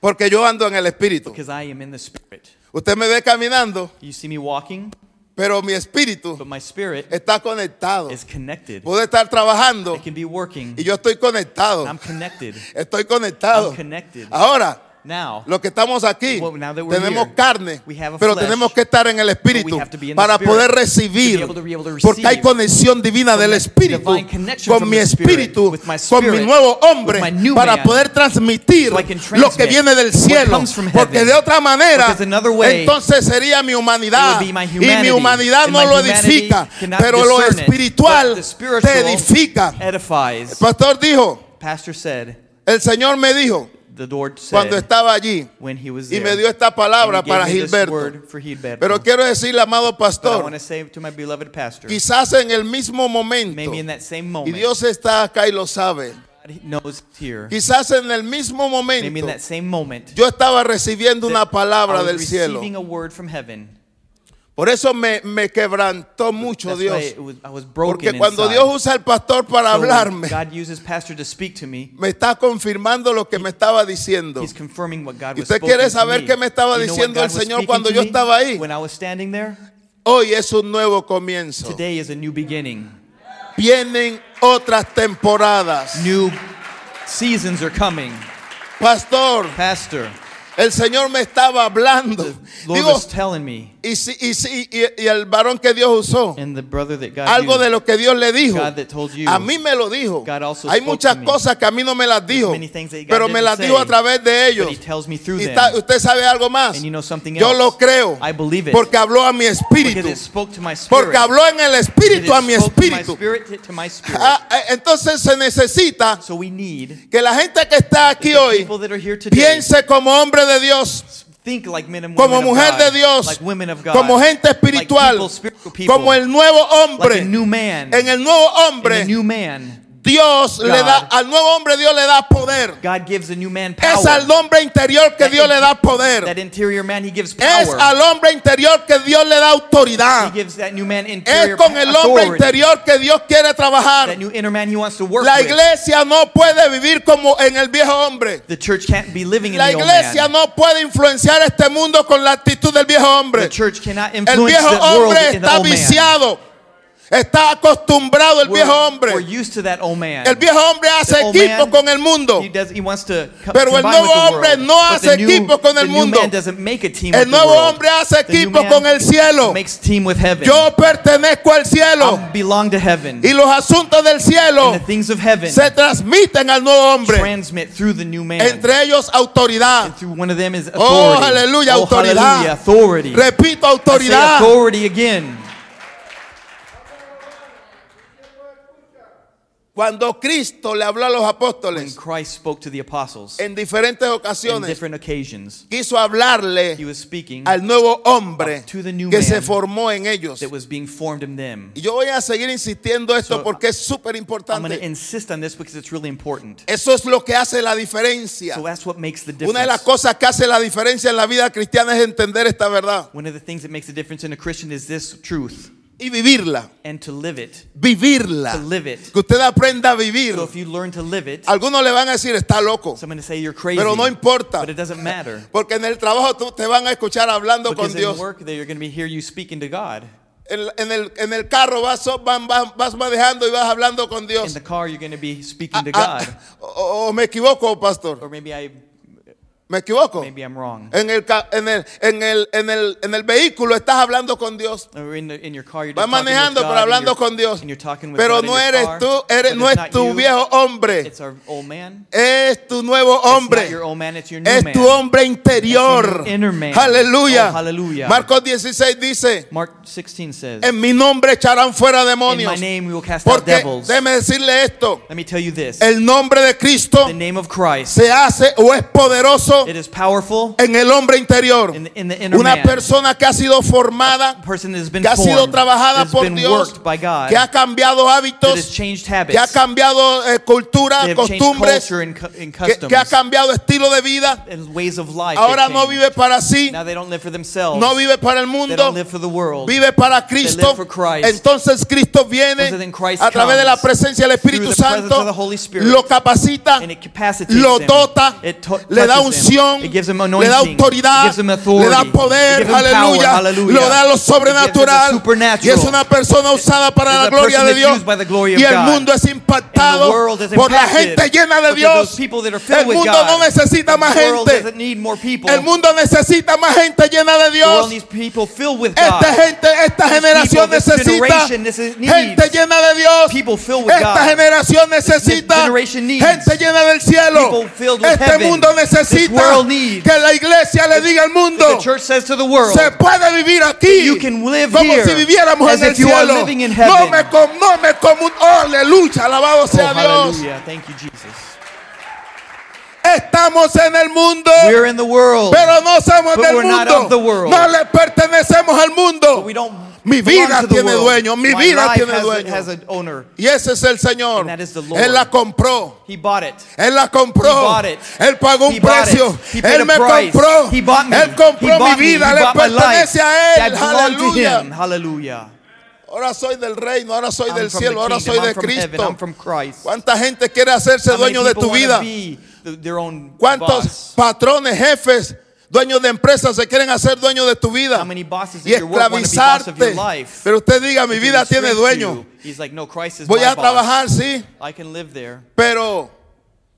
A: Porque yo ando en el Espíritu.
B: because I am in the Spirit.
A: Usted me ve caminando,
B: You see me walking,
A: pero mi espíritu
B: but my spirit
A: está conectado.
B: is connected.
A: Puedo estar trabajando
B: I can be working.
A: y yo estoy conectado.
B: I'm connected.
A: Estoy conectado.
B: I'm connected.
A: Ahora,
B: Now,
A: los que estamos aquí,
B: Well, now that we're
A: tenemos
B: here,
A: carne,
B: we have a
A: pero
B: flesh,
A: tenemos que estar en el Espíritu
B: we have to be in the
A: para
B: Spirit
A: poder
B: to be
A: recibir,
B: able to- be able to
A: porque hay
B: receive
A: conexión divina del
B: the
A: Espíritu
B: divine connection
A: con
B: from
A: mi
B: the Spirit,
A: Espíritu,
B: with my
A: con mi
B: spirit,
A: nuevo hombre,
B: with my new
A: para
B: man,
A: poder transmitir
B: so I can
A: lo que
B: transmit
A: viene del
B: what
A: cielo,
B: comes from heaven.
A: porque de otra manera,
B: Because another way,
A: entonces sería mi humanidad,
B: it would be my
A: y mi
B: humanity,
A: humanidad
B: and
A: no
B: my
A: lo
B: humanity
A: edifica,
B: cannot
A: pero lo
B: discern it,
A: espiritual
B: but the spiritual
A: te edifica. El
B: edifies.
A: pastor dijo,
B: Pastor said,
A: el Señor me dijo
B: the Lord said,
A: cuando estaba allí
B: when he was
A: y
B: there,
A: me dio esta
B: and he
A: palabra
B: gave
A: para
B: me this
A: Gilberto.
B: word for Gilberto.
A: Pero quiero decirle, amado
B: but I want
A: pastor,
B: to say to my beloved pastor,
A: quizás en el mismo momento,
B: maybe in that same
A: y
B: moment,
A: Dios está acá y lo sabe,
B: God knows it's here.
A: quizás en el mismo
B: Maybe
A: momento
B: in that same moment,
A: yo estaba recibiendo
B: that
A: una palabra
B: I was
A: del cielo.
B: receiving a word from heaven.
A: Por eso me, me quebrantó mucho
B: That's why
A: Dios.
B: it was, I was broken
A: Porque cuando
B: inside.
A: Dios usa al pastor para
B: So when
A: hablarme,
B: God uses pastor to speak to me.
A: me está confirmando lo que me estaba diciendo.
B: He's confirming what God
A: ¿Y
B: was
A: usted
B: spoken
A: quiere
B: to
A: saber
B: me.
A: qué me estaba
B: You know what
A: diciendo el
B: God was
A: Señor
B: speaking
A: cuando
B: to
A: yo
B: me
A: estaba ahí?
B: When I was standing there,
A: Hoy es un nuevo comienzo.
B: today is a new beginning.
A: Vienen otras temporadas.
B: New seasons are coming.
A: Pastor,
B: Pastor,
A: El Señor me estaba hablando.
B: the Lord
A: Digo,
B: was telling me,
A: y, si- y, si- y- y el varón que Dios usó,
B: and the brother that God
A: algo
B: used,
A: de lo que Dios le dijo,
B: God that told you,
A: a mí me lo dijo.
B: God also
A: Hay
B: spoke
A: muchas
B: to me.
A: cosas que a mí no me las dijo,
B: many things that God
A: pero me
B: didn't
A: las dijo
B: say,
A: a través de
B: but
A: ellos.
B: He tells me through
A: Y
B: them.
A: está- usted sabe algo más.
B: And you know something
A: Yo
B: else.
A: lo creo,
B: I believe it.
A: porque habló a mi
B: because
A: espíritu,
B: it spoke to my spirit.
A: porque habló en el
B: Because it
A: espíritu a mi
B: spoke to my
A: espíritu.
B: spirit to, to my spirit.
A: Ah, eh, entonces se necesita
B: so we need
A: que la gente que está aquí
B: the
A: hoy
B: people that are here today
A: piense como hombre de Dios.
B: think like men and women
A: como
B: of
A: mujer de
B: God,
A: Dios,
B: like women of God,
A: como gente
B: like
A: espiritual,
B: people, spiritual people,
A: como el nuevo
B: like a
A: hombre.
B: new man,
A: En el nuevo
B: in a
A: hombre,
B: new man.
A: Dios le
B: God.
A: da, al nuevo hombre Dios le da poder.
B: God gives a new man power.
A: Es al hombre interior que
B: That
A: Dios le da
B: That
A: poder.
B: interior man, he gives power.
A: Es al hombre interior que Dios le da
B: he
A: autoridad.
B: gives that new man
A: Es
B: interior
A: con el hombre
B: authority.
A: interior que Dios quiere trabajar.
B: That new inner man he wants to work
A: La
B: with.
A: iglesia no puede vivir como en el viejo hombre.
B: The church can't be living in
A: La
B: the old
A: iglesia
B: man.
A: no puede influenciar este mundo con la actitud del viejo
B: The
A: hombre.
B: church cannot
A: El
B: influence
A: viejo
B: the world
A: hombre
B: in the
A: está
B: old man.
A: viciado. Está acostumbrado el
B: We're,
A: viejo
B: we're
A: hombre.
B: used to that old man.
A: El viejo hombre hace
B: old
A: equipo
B: man,
A: con el mundo.
B: he, does, he wants to co-
A: Pero el
B: combine with
A: nuevo
B: the
A: hombre
B: world.
A: no
B: But the
A: hace
B: new-
A: equipo con el
B: the new
A: mundo.
B: man doesn't make a team
A: El
B: with the
A: nuevo
B: world.
A: hombre hace
B: The new
A: equipo
B: man
A: con el cielo.
B: Makes team with heaven.
A: Yo pertenezco al cielo
B: I belong to heaven.
A: y los asuntos del cielo
B: and the things of heaven
A: se transmiten al nuevo hombre.
B: transmit through the new man.
A: Entre ellos autoridad.
B: and through one of them is authority.
A: Oh, aleluya,
B: Oh,
A: autoridad.
B: hallelujah, authority.
A: Repito,
B: I say
A: autoridad.
B: authority again.
A: Cuando Cristo le habló a los
B: When
A: apóstoles
B: Christ spoke to the apostles
A: en diferentes
B: on
A: ocasiones,
B: different occasions,
A: quiso hablarle
B: he was speaking
A: al nuevo hombre
B: to the new
A: que se
B: man
A: formó en ellos.
B: that was being formed in them.
A: Y yo voy a seguir insistiendo esto
B: So,
A: porque es súper
B: I'm going to
A: importante.
B: insist on this because it's really important.
A: Eso es lo que hace la diferencia.
B: So that's what makes the
A: Una de las
B: difference.
A: cosas que hace la diferencia en la vida cristiana es entender esta verdad
B: One of the things that makes a difference in a Christian is this truth
A: y vivirla.
B: and to live it. To
A: Vivirla.
B: live it.
A: Que usted aprenda a vivir.
B: So if you learn to live it,
A: Algunos le van a decir, está loco.
B: someone to say you're crazy.
A: Pero no importa.
B: But it doesn't
A: *laughs*
B: matter.
A: Porque en el trabajo tú te van a escuchar hablando con
B: Because
A: Dios.
B: in work there you're going to be hear you speaking to God.
A: En, en el, en el carro vas, van- vas- vas manejando y vas hablando con
B: In
A: Dios.
B: the car you're going to be speaking to
A: Ah,
B: God.
A: o, o me equivoco, pastor.
B: Or maybe I
A: ¿Me equivoco?
B: Maybe I'm wrong.
A: En el, ca- en, el, en, el, en, el, en el vehículo estás hablando con Dios.
B: Or in, the, in your car, you're
A: Vas
B: just talking with
A: manejando,
B: God
A: pero
B: and
A: hablando
B: you're-
A: con Dios.
B: and you're talking with
A: Pero
B: God in
A: no
B: your
A: eres
B: car,
A: tú, eres,
B: but
A: no
B: it's
A: es
B: not
A: tu
B: you,
A: viejo hombre.
B: It's our old man.
A: Es tu nuevo
B: It's not
A: hombre.
B: your old man, it's your new
A: Es
B: man.
A: tu hombre interior.
B: It's your inner man.
A: Aleluya.
B: Oh, hallelujah.
A: Marcos 16 dice,
B: Mark 16 says,
A: en mi nombre echarán fuera
B: In my
A: demonios.
B: name we will cast out
A: Porque
B: devils.
A: déjeme decirle esto,
B: Let me tell you this.
A: el nombre de Cristo
B: the name of Christ,
A: se hace o es poderoso
B: it is powerful
A: en el hombre interior.
B: in the, in the inner
A: Una
B: man.
A: persona que ha sido formada,
B: person that has been
A: que ha sido
B: formed, that
A: trabajada
B: has
A: por
B: been
A: Dios,
B: worked by God,
A: que ha cambiado
B: that has
A: hábitos,
B: changed
A: que ha
B: habits,
A: cambiado eh,
B: that
A: cultura,
B: have changed
A: costumbres,
B: culture and, cu- and
A: que,
B: customs,
A: que ha cambiado estilo de vida.
B: and ways of life. they've
A: Ahora no
B: changed.
A: vive para sí,
B: now they don't live for themselves.
A: no vive para el
B: they
A: mundo,
B: don't live for the world.
A: vive para Cristo.
B: for Christ.
A: Entonces Cristo viene
B: So then Christ
A: a través de la
B: comes
A: presencia del Espíritu
B: through the presence
A: Santo,
B: of the Holy Spirit.
A: lo capacita,
B: and it capacitates
A: lo
B: them.
A: dota,
B: It to-
A: le da
B: touches them.
A: unción,
B: It gives them
A: le da
B: anointing. It
A: autoridad,
B: gives them
A: le da
B: authority. It
A: poder,
B: gives them power.
A: aleluya,
B: Hallelujah.
A: lo da lo sobrenatural y
B: It gives them the
A: es
B: supernatural.
A: una persona usada para
B: It is
A: la
B: a
A: gloria
B: person
A: de
B: that's
A: Dios
B: used by the glory of
A: y el
B: God.
A: mundo es
B: And
A: impactado
B: the world is
A: por la
B: impacted
A: gente llena de
B: because
A: Dios.
B: those people that are filled
A: El
B: with
A: mundo
B: God.
A: no necesita
B: The
A: más
B: world
A: gente.
B: doesn't need more people.
A: El mundo necesita más gente llena de
B: The world
A: Dios.
B: needs people filled with God.
A: Esta gente, esta generación
B: this
A: necesita
B: generation necess-
A: gente
B: needs
A: llena de Dios.
B: people filled with
A: Esta
B: God.
A: generación necesita
B: generation needs
A: gente llena del cielo.
B: people filled with
A: Este
B: heaven.
A: mundo
B: This
A: necesita
B: world needs-
A: que la iglesia le diga al
B: The
A: mundo
B: church says to the world,
A: se puede vivir aquí
B: You can live
A: como
B: here
A: si viviéramos
B: as
A: en el
B: if you are
A: cielo.
B: living in
A: No
B: heaven.
A: me com- no me comun- oh, aleluya, alabado
B: oh,
A: sea Dios.
B: hallelujah. Thank you, Jesus.
A: Estamos en el mundo.
B: We're in the world,
A: Pero no somos
B: But
A: del
B: we're not
A: mundo.
B: of the world.
A: No le pertenecemos al
B: but
A: mundo.
B: we don't
A: Mi
B: belong
A: vida
B: to the
A: tiene
B: world.
A: dueño, mi
B: My
A: vida
B: life
A: tiene
B: has, a-
A: dueño.
B: has an owner.
A: Y ese es el Señor.
B: And that is the Lord.
A: Él la compró.
B: He bought it.
A: Él la
B: He
A: compró.
B: bought it.
A: Él pagó un
B: He bought it.
A: precio.
B: He paid
A: Él
B: a
A: me
B: price.
A: compró.
B: He bought me.
A: Él
B: He
A: compró mi
B: bought me.
A: vida.
B: He
A: Le
B: bought my
A: pertenece
B: life.
A: a Él.
B: I belong to him.
A: Aleluya.
B: Hallelujah.
A: Ahora soy del reino, ahora soy
B: I'm
A: del
B: from
A: cielo,
B: the
A: ahora
B: kingdom.
A: soy
B: I'm
A: de
B: from heaven.
A: Cristo.
B: I'm from Christ.
A: ¿Cuánta gente quiere hacerse
B: How many
A: dueño de
B: people
A: tu
B: wanna
A: vida?
B: be th- their own
A: ¿Cuántos
B: boss?
A: patrones, jefes, dueños de empresas se quieren hacer dueños de tu vida
B: How many bosses
A: y
B: at your work wanna be boss of your
A: esclavizarte?
B: life?
A: Pero usted diga, mi
B: He
A: vida tiene
B: restricts
A: dueño.
B: you. He's like, no, Christ is
A: Voy
B: my
A: a
B: boss.
A: trabajar, sí,
B: I can live there,
A: pero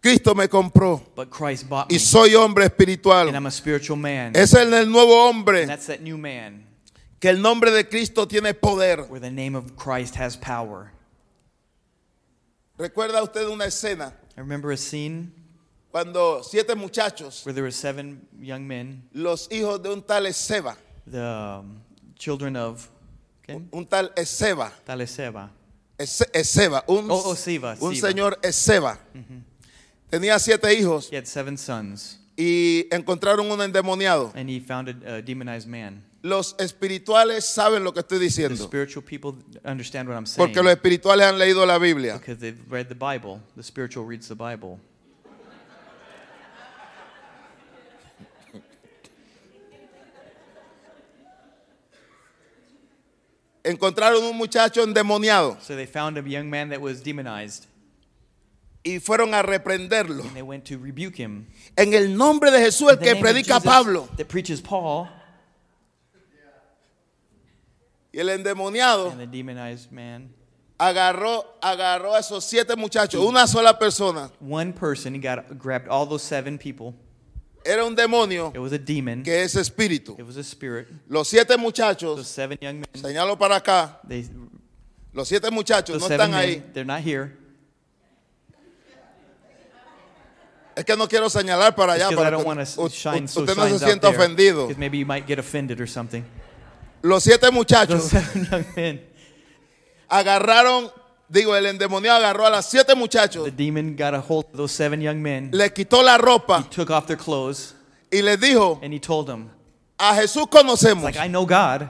A: Cristo me compró
B: but Christ bought me,
A: y soy hombre
B: and
A: espiritual.
B: I'm a spiritual man.
A: Es el, el nuevo
B: and
A: hombre
B: that's that new man,
A: que el nombre de Cristo tiene poder.
B: where the name of Christ has power.
A: Recuerda usted una escena
B: I remember a scene
A: cuando siete muchachos,
B: where there were seven young men,
A: los hijos de un tal Ezeba,
B: the um, children of okay,
A: un tal Ezeba,
B: Taleseba.
A: Eze- Ezeba, un,
B: Oh, oh, Siba,
A: un
B: Siba.
A: señor Ezeba. Tenía siete hijos
B: He had seven sons,
A: y encontraron un endemoniado.
B: and he found a, a demonized man.
A: Los espirituales saben lo que estoy
B: The
A: diciendo,
B: spiritual people understand what I'm saying
A: porque los espirituales han leído la Biblia.
B: because they've read the Bible. The spiritual reads the Bible.
A: encontraron un muchacho endemoniado
B: So they found a young man that was demonized,
A: y fueron a reprenderlo.
B: and they went to rebuke him.
A: En el nombre de Jesús, el
B: In the
A: que
B: name of
A: predica
B: Jesus
A: Pablo.
B: That preaches Paul.
A: Y el endemoniado
B: And the demonized man.
A: agarró, agarró a esos siete muchachos, una sola persona.
B: One person got grabbed all those seven people.
A: Era un demonio
B: It was a demon.
A: que es espíritu.
B: It was a spirit.
A: Los siete
B: Those
A: muchachos,
B: seven young men.
A: señalo para acá,
B: They,
A: los siete muchachos
B: those
A: no
B: seven
A: están
B: men.
A: ahí.
B: They're not here.
A: Es que no quiero señalar para allá
B: Because
A: para
B: I don't
A: que
B: want to
A: u-
B: shine
A: u-
B: so
A: usted no se
B: shines out
A: sienta
B: there,
A: ofendido.
B: 'cause maybe you might get offended
A: *laughs*
B: or something.
A: Los siete
B: Those *laughs*
A: muchachos
B: seven young men.
A: agarraron, digo, el endemoniado agarró a las siete
B: The
A: muchachos,
B: demon got a hold of those seven young men.
A: le quitó la ropa
B: Took off their clothes
A: y les dijo,
B: and he told them,
A: A Jesús conocemos,
B: like, I know God.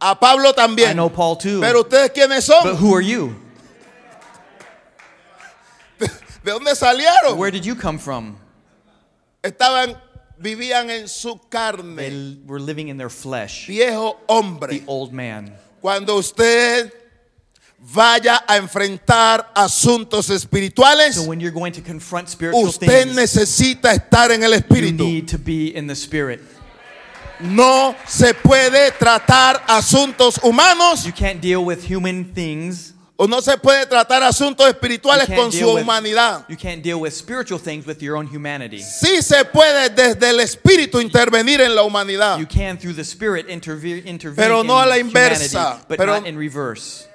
A: a Pablo
B: I
A: también.
B: know Paul too.
A: Pero ustedes quiénes
B: But
A: son?
B: who are you?
A: ¿De dónde salieron?
B: Where did you come from?
A: Estaban, vivían en su carne,
B: They were living in their flesh.
A: viejo
B: The
A: hombre.
B: old man.
A: Cuando usted vaya a enfrentar asuntos
B: So
A: espirituales,
B: when you're going to confront spiritual
A: usted
B: things,
A: necesita estar en el
B: you
A: espíritu.
B: need to be in the spirit.
A: No se puede tratar asuntos humanos
B: You can't deal with human things
A: O no se puede tratar asuntos espirituales
B: You
A: con
B: can't
A: su
B: deal with-
A: humanidad.
B: You can't deal with spiritual things with your own humanity.
A: Sí se puede desde el espíritu intervenir en la humanidad.
B: You can through the spirit intervene intervene
A: Pero no a
B: in
A: la
B: humanity,
A: inversa,
B: but
A: pero-
B: not in reverse.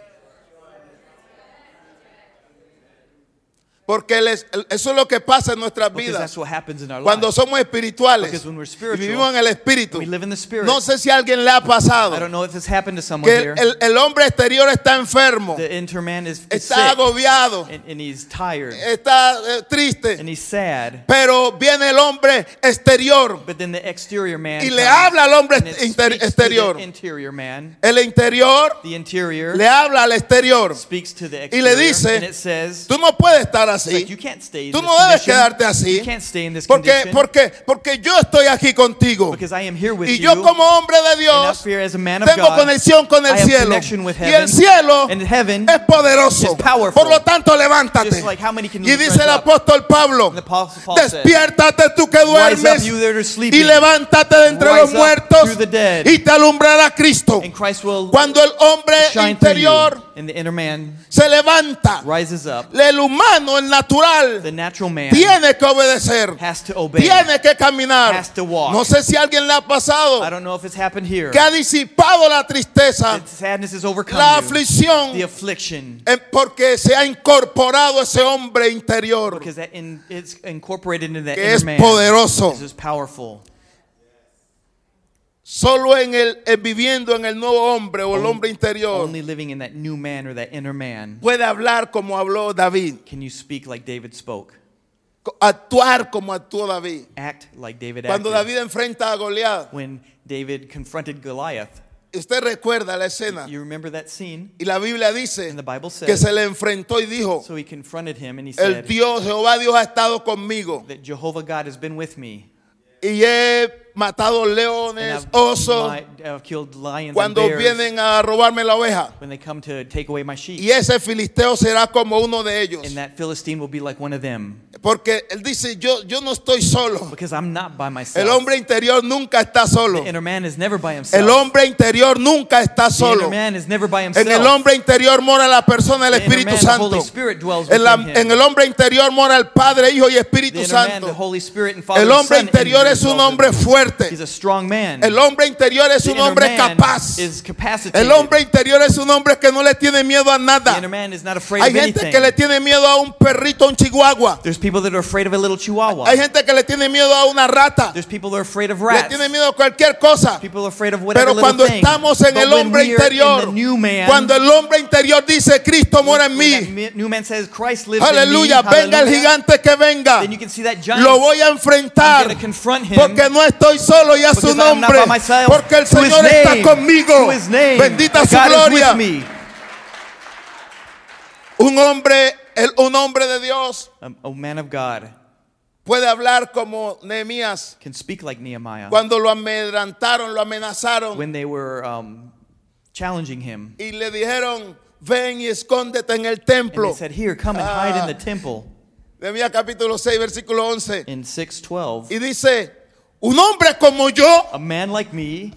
A: Porque el es- el- eso es lo que pasa en nuestras
B: Because
A: vidas.
B: that's what happens in our
A: Cuando
B: lives.
A: somos espirituales
B: Because when we're
A: y
B: spiritual,
A: vivimos en el espíritu,
B: we live in the spirit.
A: no sé si a alguien le ha
B: I don't
A: pasado
B: know if this happened to someone
A: que el,
B: here.
A: el- el hombre exterior está enfermo,
B: the inter man is, is
A: está
B: sick
A: agobiado,
B: and, and he's tired
A: está eh,
B: and
A: triste,
B: he's sad.
A: pero viene el hombre exterior
B: But then the exterior man
A: y le
B: comes,
A: habla al hombre
B: and it
A: inter-
B: speaks to
A: exterior.
B: the interior man.
A: El interior
B: The interior
A: le habla al exterior.
B: speaks to
A: y
B: the exterior
A: le dice,
B: and it says
A: Tú no puedes estar
B: like, you
A: así.
B: can't stay in
A: Tú
B: this
A: no debes
B: condition.
A: quedarte así.
B: You can't stay in this
A: Porque,
B: condition
A: porque, porque yo estoy aquí contigo.
B: because I am here with
A: Y
B: you.
A: yo como hombre de
B: and I
A: Dios
B: fear as a man of
A: tengo
B: God,
A: conexión con el
B: I have
A: cielo.
B: connection with
A: Y
B: heaven,
A: el cielo
B: and heaven
A: es poderoso.
B: is powerful.
A: Por lo tanto, levántate.
B: Just like how many can
A: Y
B: lift
A: dice el
B: up?
A: apóstol Pablo,
B: And the Apostle Paul said,
A: despiértate tú que
B: Rise up,
A: duermes
B: you that are
A: y
B: sleeping,
A: levántate de entre
B: Rise
A: los
B: up
A: muertos
B: through the dead.
A: y te alumbrará Cristo.
B: and Christ will
A: Cuando el hombre
B: shine through you.
A: interior
B: And the inner man
A: se levanta,
B: rises up.
A: el humano, el natural,
B: The natural man
A: tiene que obedecer,
B: has to obey.
A: tiene que caminar.
B: Has to walk.
A: No sé si a alguien le ha pasado
B: I don't know if it's happened here.
A: que ha disipado la tristeza,
B: The sadness has overcome
A: Uh, la
B: you.
A: aflicción,
B: The affliction,
A: eh, porque se ha incorporado ese hombre interior
B: because that in, it's incorporated into that
A: que
B: inner
A: es
B: man.
A: poderoso.
B: This is powerful.
A: Solo en el en viviendo en el nuevo hombre o el hombre interior
B: Only living in that new man or that inner man
A: puede hablar como habló David,
B: can you speak like David spoke,
A: co- actuar como actuó David.
B: act like David
A: Cuando
B: acted.
A: David enfrenta a Goliat,
B: When David confronted Goliath,
A: usted recuerda la escena
B: you remember that scene,
A: y la Biblia
B: and
A: dice
B: the Bible
A: Ah. que
B: says.
A: se le enfrentó y dijo,
B: So he confronted him and he
A: el
B: said
A: Dios Jehová Dios ha estado conmigo
B: that Jehovah God has been with me.
A: y he matado
B: And
A: leones,
B: I've,
A: osos
B: li- I've killed lions
A: cuando
B: and bears
A: vienen a robarme la oveja.
B: when they come to take away my sheep.
A: Y ese filisteo será como uno de ellos.
B: And that Philistine will be like one of them
A: Porque él dice, yo, yo no estoy solo.
B: because I'm not by myself.
A: El hombre interior nunca está solo.
B: the inner man is never by himself.
A: El hombre interior nunca está
B: The
A: solo.
B: inner man is never by himself.
A: En el hombre interior mora la persona del
B: The inner
A: Espíritu
B: man, The Holy
A: Santo.
B: Spirit dwells
A: En, la-
B: within him.
A: en el hombre interior mora el Padre, Hijo y
B: the
A: Espíritu
B: inner man, the
A: Santo.
B: Holy Spirit and Father
A: El
B: and
A: hombre
B: Son
A: interior es un
B: indwells
A: hombre
B: in him.
A: fuerte.
B: He's a strong man.
A: El hombre interior es
B: the
A: un
B: inner
A: hombre
B: man
A: capaz.
B: is capacitated.
A: El hombre interior es un hombre que no le tiene miedo a
B: the
A: nada.
B: inner man is not afraid
A: Hay
B: of
A: gente
B: anything.
A: que le tiene miedo a un perrito, a un chihuahua.
B: There's people that are afraid of a little chihuahua.
A: Hay gente que le tiene miedo a una rata.
B: There's people that are afraid of
A: Le
B: rats.
A: tiene miedo a cualquier cosa.
B: People are afraid of whatever
A: Pero
B: little
A: cuando
B: thing.
A: estamos en
B: But
A: el
B: when
A: hombre
B: we are in
A: interior,
B: the new man,
A: cuando el hombre interior dice Cristo mora en
B: when that
A: mí,
B: mi- new man says Christ lives
A: aleluya,
B: in me,
A: venga el
B: hallelujah,
A: gigante que venga,
B: Then you can see that giant.
A: lo voy a
B: I'm
A: enfrentar
B: gonna confront him.
A: porque no estoy solo y a su
B: Because I'm not
A: nombre,
B: by myself.
A: porque el
B: To his
A: Señor está
B: name.
A: conmigo,
B: To his name.
A: bendita su
B: God is
A: gloria,
B: with me.
A: un hombre, el- un hombre de Dios
B: Um, a man of God
A: puede hablar como Nehemías
B: can speak like Nehemiah.
A: cuando lo amedrentaron, lo amenazaron
B: When they were um, challenging him,
A: y le dijeron ven y escóndete en el
B: and they
A: templo. Ah.
B: said, "Here, come and hide in the temple."
A: Nehemías capítulo 6 versículo 11.
B: In six twelve,
A: Y dice, un hombre como yo,
B: a man like me,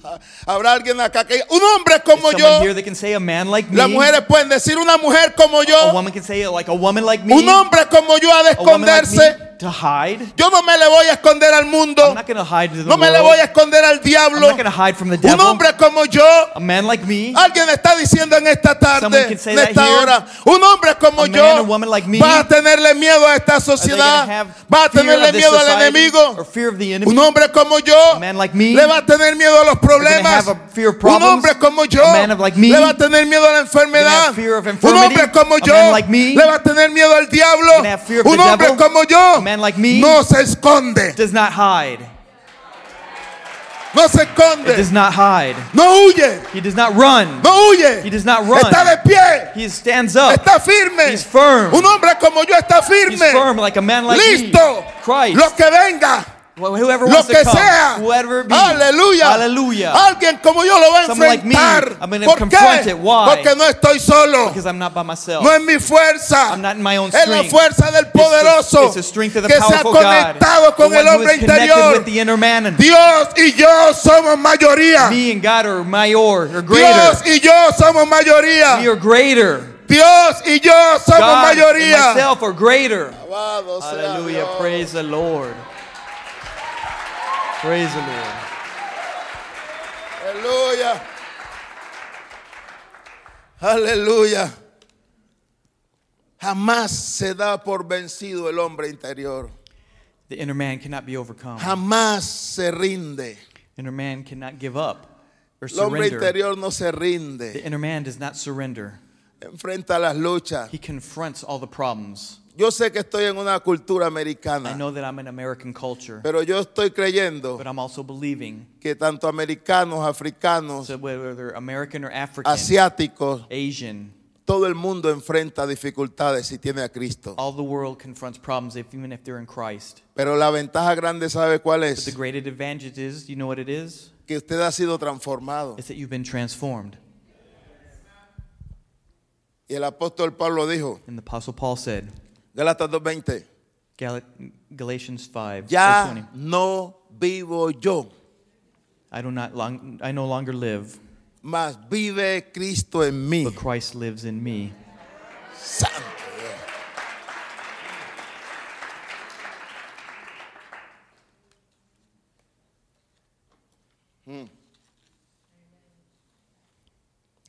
A: habrá alguien acá que diga, un hombre como
B: someone
A: yo,
B: here that can say a man like me,
A: las mujeres pueden decir una mujer como
B: a
A: yo,
B: woman can say like a woman like me,
A: un hombre como yo ha de
B: a woman like
A: esconderse.
B: me to hide.
A: Yo no me le voy a esconder al
B: I'm
A: mundo,
B: not going to hide to the
A: no me le
B: world.
A: voy a esconder al
B: I'm
A: diablo.
B: not going to hide from the
A: Un
B: devil.
A: hombre como yo,
B: A man like me,
A: alguien está diciendo en esta tarde,
B: Someone can say
A: en
B: that
A: esta
B: here.
A: hora, un hombre como
B: A man, a
A: yo
B: woman like me.
A: va a tenerle miedo a esta
B: are they going
A: sociedad,
B: to have
A: va a
B: fear
A: tenerle
B: of this
A: miedo al
B: society or
A: enemigo.
B: fear of the enemy?
A: Un hombre como
B: A
A: yo
B: man like me,
A: le va a tener miedo a los problemas.
B: have a fear of
A: Un
B: problems.
A: hombre como yo
B: A man of like me,
A: le va a tener miedo a la
B: gonna
A: enfermedad.
B: have fear of
A: Un
B: infirmity.
A: hombre como
B: A
A: yo
B: man like me,
A: le va a tener miedo al diablo.
B: gonna have fear of
A: Un
B: the
A: hombre
B: devil.
A: como yo
B: A man like me,
A: no se esconde,
B: does not hide.
A: no se
B: It
A: esconde,
B: does not hide.
A: no huye,
B: He does not run.
A: no huye.
B: He does not run.
A: Está de pie,
B: He stands up.
A: está firme.
B: He's firm.
A: Un hombre como yo está
B: He's
A: firme.
B: firm like a man like
A: Listo.
B: me. Christ.
A: Lo que venga.
B: Wh- whoever
A: Lo
B: wants
A: que
B: to come,
A: sea.
B: whoever it be.
A: Aleluya.
B: Hallelujah.
A: Alguien como yo lo va a
B: Someone like me,
A: enfrentar.
B: I'm gonna
A: ¿Por
B: confront
A: qué?
B: it. Why?
A: Porque no estoy solo.
B: Because I'm not by myself.
A: No es mi fuerza.
B: I'm not in my own
A: Es la
B: strength.
A: fuerza del
B: It's the-
A: poderoso
B: it's the strength of the
A: que se ha
B: powerful God,
A: conectado con
B: the one
A: el
B: who
A: hombre
B: is connected
A: interior.
B: With the inner man and
A: Dios y yo somos mayoría.
B: me and God are mayor or greater.
A: Dios y yo somos
B: We
A: mayoría.
B: are greater.
A: Dios y yo somos
B: God and
A: mayoría.
B: myself are greater.
A: Alabado sea
B: Hallelujah.
A: Dios.
B: Praise the Lord. Praise the Lord.
A: Aleluya. Aleluya. Jamás se da por vencido el hombre interior.
B: The inner man cannot be overcome.
A: Jamás se rinde.
B: Inner man cannot give up or
A: El hombre
B: surrender.
A: interior no se
B: The
A: rinde.
B: inner man does not surrender.
A: Enfrenta las luchas.
B: He confronts all the problems.
A: Yo sé que estoy en una cultura
B: I
A: americana,
B: know that I'm in American culture,
A: pero yo estoy creyendo
B: but I'm also believing
A: que tanto americanos, africanos,
B: that whether American or African,
A: asiáticos,
B: Asian,
A: todo el mundo enfrenta dificultades si tiene a Cristo.
B: all the world confronts problems if, even if they're in Christ.
A: Pero la ventaja grande, ¿sabe cuál
B: But the
A: es?
B: greatest advantage is, you know what it is?
A: Que usted ha sido transformado.
B: It's that you've been transformed.
A: Y el apóstol Pablo dijo,
B: And the Apostle Paul said,
A: Galatas 2.20,
B: Gal- Galatians 5, verse
A: ya
B: 20,
A: no vivo yo,
B: I, do not long, I no longer live,
A: mas vive Cristo en mí.
B: but Christ lives in me.
A: Santo Dios. Mm.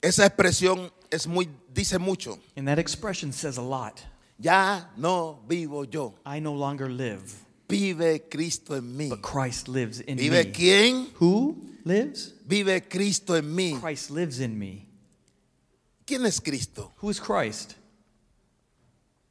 A: Esa expresión es muy dice mucho.
B: And that expression says a lot.
A: Ya no vivo yo,
B: I no longer live,
A: vive Cristo en mí.
B: but Christ lives in
A: ¿Vive
B: me.
A: quién?
B: Who lives?
A: Vive Cristo en mí.
B: Christ lives in me.
A: ¿Quién es Cristo?
B: Who is Christ?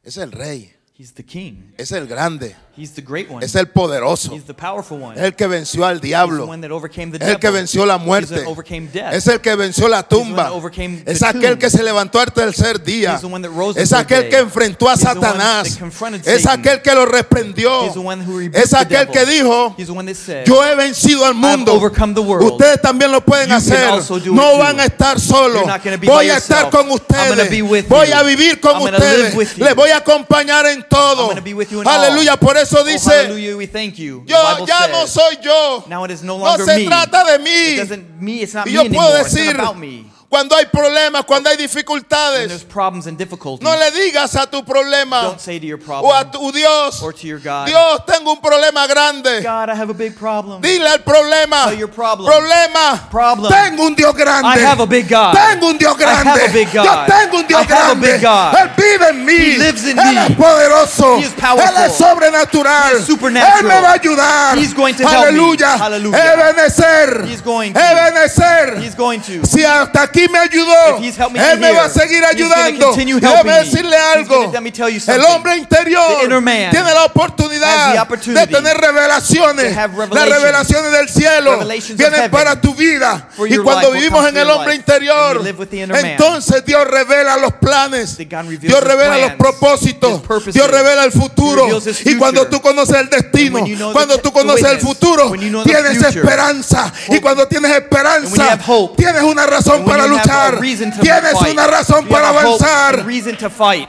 A: Es el rey,
B: He's the king.
A: es el grande,
B: He's the great one.
A: es el poderoso,
B: He's the powerful one.
A: es el que venció al
B: He's the
A: diablo.
B: one that overcame the
A: Es el que
B: devil.
A: venció la
B: He's the
A: muerte.
B: one that overcame death.
A: Es el que venció la tumba.
B: that overcame the
A: Es aquel
B: tomb.
A: que se levantó al tercer día.
B: He's the one that rose
A: Es
B: the
A: aquel
B: third
A: que
B: day.
A: enfrentó a
B: He's the one that
A: Satanás.
B: confronted
A: Es
B: Satan.
A: aquel que lo reprendió.
B: He's the one who rebuked
A: Es
B: the
A: aquel
B: devil.
A: que dijo,
B: He's the one that said,
A: yo he vencido al mundo.
B: overcome the world.
A: Ustedes también lo pueden
B: You can
A: hacer.
B: also do it
A: No
B: too.
A: van a estar solos.
B: You're not gonna be
A: Voy
B: by
A: a estar
B: yourself.
A: con
B: I'm gonna
A: ustedes.
B: be with
A: Voy
B: you.
A: a vivir con
B: I'm gonna
A: ustedes.
B: live with you.
A: Les voy a acompañar en
B: I'm
A: todo.
B: going to be with you in all.
A: Aleluya. Por eso
B: Oh,
A: dice,
B: hallelujah, we thank you. The
A: yo
B: Bible
A: ya
B: says,
A: no soy yo.
B: Now it is no
A: No
B: longer
A: se
B: me.
A: trata de
B: It
A: mí.
B: doesn't me. It's not
A: Y
B: me
A: yo
B: anymore.
A: puedo
B: it's
A: decir,
B: not about me.
A: cuando hay problemas, cuando hay
B: When there's
A: dificultades,
B: problems and difficulties,
A: no le digas a tu problema
B: don't say to your problem
A: o a tu Dios,
B: or to your God,
A: Dios, tengo un problema grande.
B: God, I have a big problem.
A: Dile al problema,
B: Tell your problem.
A: problema,
B: Problem.
A: tengo un Dios
B: I
A: grande.
B: have a big God.
A: Tengo un Dios
B: I have
A: grande.
B: a big God.
A: Yo tengo un Dios
B: I have a
A: grande.
B: big God.
A: Él vive en mí.
B: He lives in
A: Él
B: me.
A: es poderoso.
B: He is powerful.
A: Él es sobrenatural.
B: He is supernatural.
A: Él me va a ayudar.
B: He's going to help me.
A: Aleluya.
B: Hallelujah.
A: Ebenezer.
B: He's going to.
A: Ebenezer.
B: He's going to.
A: Si hasta aquí me ayudó,
B: If he's helped me
A: Él
B: to
A: me
B: here,
A: va a seguir
B: he's gonna
A: ayudando.
B: continue
A: Déjame
B: helping me.
A: decirle
B: He's
A: algo.
B: gonna- let me tell you
A: El
B: something.
A: hombre interior
B: The inner man
A: tiene la oportunidad
B: has the
A: de
B: opportunity
A: tener revelaciones.
B: to have
A: Las
B: revelations.
A: revelaciones del cielo
B: Revelations of
A: vienen
B: heaven
A: para tu vida.
B: for
A: Y
B: your
A: cuando
B: life will
A: vivimos
B: come
A: en
B: to
A: el
B: your
A: hombre
B: life, and you
A: interior,
B: live with the inner man.
A: entonces Dios revela los planes.
B: That God reveals
A: Dios
B: his
A: revela los
B: plans,
A: propósitos.
B: his purposes.
A: Dios revela el
B: He
A: futuro.
B: reveals his
A: Y cuando tú
B: future.
A: conoces el destino,
B: And when you know the
A: cuando
B: te-
A: tú
B: the
A: conoces el
B: witness,
A: futuro,
B: when you know the
A: tienes
B: future,
A: esperanza. Y
B: hope.
A: cuando tienes
B: And when you
A: esperanza,
B: have hope,
A: tienes una razón
B: And when
A: para
B: you have
A: luchar.
B: a reason to
A: Tienes
B: fight,
A: una razón
B: you
A: para
B: have a hope and
A: avanzar.
B: reason to fight.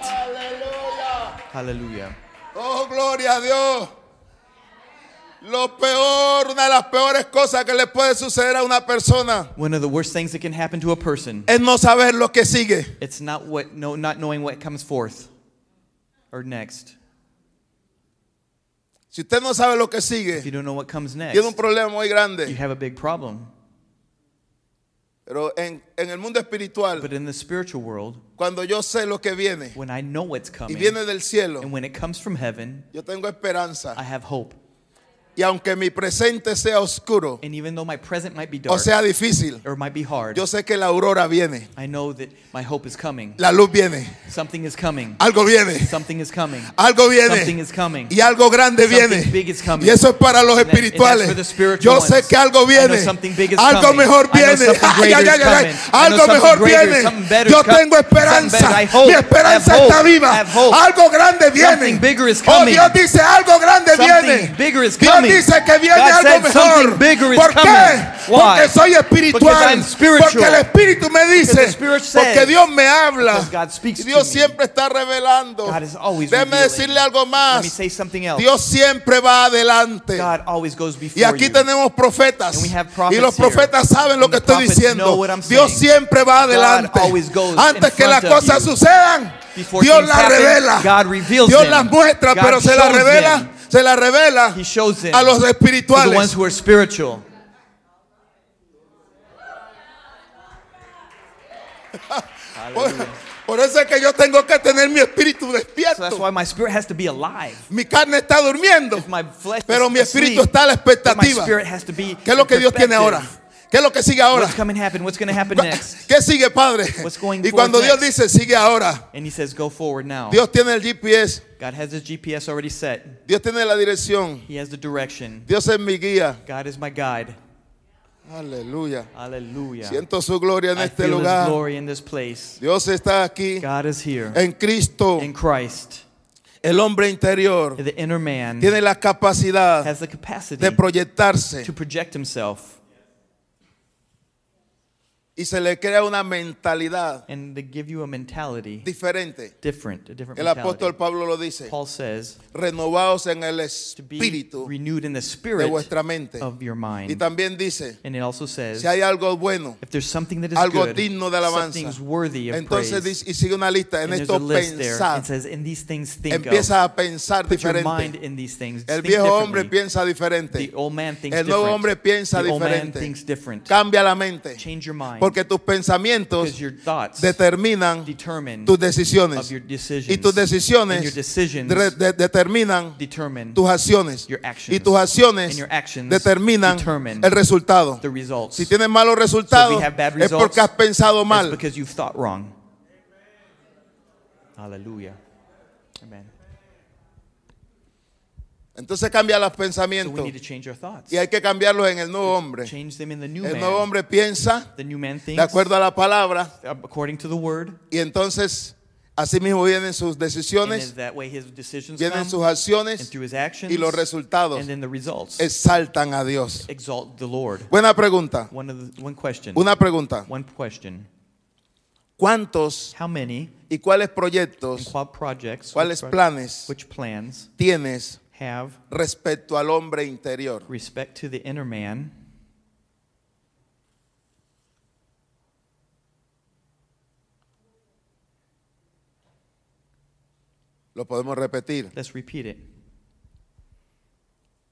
B: Hallelujah.
A: Oh, gloria a Dios. Lo peor, una de las peores cosas que le puede suceder a una persona
B: One of the worst things that can happen to a person,
A: es no saber lo que sigue.
B: it's not what no, not knowing what comes forth or next.
A: Si usted no sabe lo que
B: If
A: sigue,
B: you don't know what comes next,
A: tiene un problema muy
B: you
A: grande.
B: have a big problem.
A: Pero en, en el mundo espiritual,
B: But in the spiritual world,
A: cuando yo sé lo que viene
B: when I know what's
A: y
B: coming
A: viene del cielo,
B: and when it comes from heaven,
A: yo tengo esperanza.
B: I have hope.
A: Y aunque mi presente sea oscuro
B: And even though my present might be dark
A: o sea difícil,
B: or might be hard,
A: yo sé que la aurora viene,
B: I know that my hope is coming.
A: la luz viene,
B: Something is coming.
A: algo viene,
B: Something is coming.
A: algo
B: Something
A: viene.
B: is coming.
A: Y algo grande
B: Something
A: viene.
B: big is coming.
A: Y eso es para los
B: And that- and that's
A: espirituales.
B: for the spiritual
A: Yo sé
B: ones.
A: que algo
B: I know
A: viene.
B: something big is
A: Algo
B: coming.
A: mejor
B: I know
A: viene.
B: something
A: Ay, ay,
B: greater
A: ay,
B: is
A: ay.
B: coming. I know
A: Algo
B: something
A: mejor
B: greater,
A: viene.
B: something better
A: Yo
B: is com-
A: tengo
B: something
A: esperanza.
B: better. I hope.
A: Mi esperanza
B: I have
A: está
B: hope. I
A: viva.
B: have hope.
A: Algo grande
B: Something
A: viene.
B: bigger is
A: Oh,
B: coming.
A: Dios dice algo grande
B: Something
A: qué?
B: Something bigger is
A: Dios
B: coming.
A: dice que viene
B: God
A: algo
B: said
A: mejor.
B: something bigger is
A: ¿Por qué?
B: coming. Why?
A: Porque soy
B: Because
A: espiritual.
B: I'm spiritual.
A: Porque el Espíritu me
B: Because the
A: dice.
B: Spirit says.
A: Porque Dios me habla.
B: Because God speaks
A: Y Dios
B: to me.
A: siempre está revelando.
B: God is always
A: Déjeme
B: revealing.
A: decirle algo
B: Let me
A: más.
B: say something else.
A: Dios siempre va adelante.
B: God always goes before
A: Y aquí
B: you.
A: tenemos profetas.
B: And we have
A: Y
B: prophets
A: los
B: here.
A: profetas saben lo
B: And
A: que
B: the
A: estoy
B: prophets know
A: diciendo.
B: what I'm
A: Dios
B: saying.
A: siempre va adelante.
B: always goes
A: Antes
B: in
A: que las
B: front of
A: cosas
B: you.
A: sucedan,
B: Before
A: Dios
B: things
A: las
B: happen,
A: revela.
B: God reveals
A: Dios
B: them.
A: las muestra,
B: God
A: pero se las
B: shows
A: revela,
B: them.
A: se las revela
B: He shows them
A: a los
B: to the ones
A: espirituales.
B: who
A: *laughs*
B: are spiritual.
A: Por, por eso es que yo tengo que tener mi espíritu
B: So that's
A: despierto.
B: why my spirit has to be alive.
A: Mi carne está durmiendo,
B: If my flesh
A: pero
B: is
A: mi espíritu
B: asleep,
A: está a la
B: but my
A: expectativa.
B: spirit has to be
A: ¿Qué es lo que Dios tiene ahora? ¿Qué es lo que sigue ahora?
B: What's coming to happen? What's going to happen next?
A: ¿Qué sigue, Padre?
B: What's going
A: Y cuando
B: forward
A: Dios dice, sigue ahora.
B: And he says, go forward now.
A: Dios tiene el GPS,
B: God has his GPS already set.
A: Dios tiene la dirección,
B: He has the direction.
A: Dios es mi guía.
B: God is my guide.
A: Aleluya.
B: Hallelujah.
A: Siento su gloria en
B: I
A: este
B: feel his
A: lugar.
B: glory in this place.
A: Dios está aquí
B: God is here.
A: en Cristo.
B: In Christ,
A: El hombre interior
B: the inner man
A: tiene la capacidad
B: has the capacity
A: de proyectarse
B: to project himself
A: y se le crea una mentalidad
B: and to give you a mentality
A: diferente.
B: different, a different
A: El
B: mentality.
A: apóstol Pablo lo dice,
B: Paul says
A: renovaos en el
B: to be
A: espíritu
B: renewed in the
A: de
B: spirit
A: vuestra mente.
B: of your
A: Y
B: mind.
A: también dice,
B: And it also says
A: si hay algo bueno,
B: if there's something that is
A: algo
B: good,
A: digno de alabanza,
B: something's worthy of
A: entonces
B: praise,
A: dice, y sigue una lista, en
B: and there's
A: esto
B: a list there.
A: pensad,
B: It says in these things think of.
A: empieza a pensar
B: Put your mind
A: diferente.
B: in these things.
A: El
B: Think
A: viejo hombre
B: differently.
A: piensa diferente.
B: The old man thinks
A: El nuevo
B: different.
A: hombre piensa
B: the old man
A: diferente.
B: thinks different.
A: Cambia la mente.
B: Change your mind.
A: Porque tus pensamientos
B: because your thoughts
A: determinan
B: determine
A: tus decisiones.
B: of your decisions.
A: Y tus
B: and your
A: decisiones
B: decisions
A: de- de- determinan
B: determine
A: tus acciones.
B: your actions.
A: Y tus acciones
B: And your actions
A: determinan
B: determine
A: el resultado.
B: the results.
A: Si tienes malos resultados,
B: have bad
A: es porque
B: results,
A: has pensado
B: That's
A: mal.
B: because you've thought wrong. Hallelujah. Amen.
A: Entonces cambia los
B: So we
A: pensamientos.
B: need to change our thoughts.
A: Y hay que cambiarlos en el nuevo hombre.
B: Change them in the new
A: El
B: man.
A: nuevo hombre piensa
B: the new man
A: de
B: thinks
A: acuerdo a la palabra.
B: according to the word.
A: Y entonces, así mismo vienen sus
B: And
A: decisiones,
B: then that way his decisions
A: vienen
B: come.
A: sus
B: and
A: acciones
B: through his actions.
A: y los resultados
B: and then the results.
A: exaltan a Dios.
B: Exalt the Lord.
A: Buena pregunta.
B: One, of the, one question.
A: Una pregunta.
B: One question.
A: ¿Cuántos
B: How many
A: y cuáles
B: and
A: proyectos,
B: qual projects,
A: cuáles
B: which,
A: planes
B: which plans
A: tienes
B: have
A: respecto al hombre interior?
B: respect to the inner man?
A: Lo podemos repetir.
B: Let's repeat it.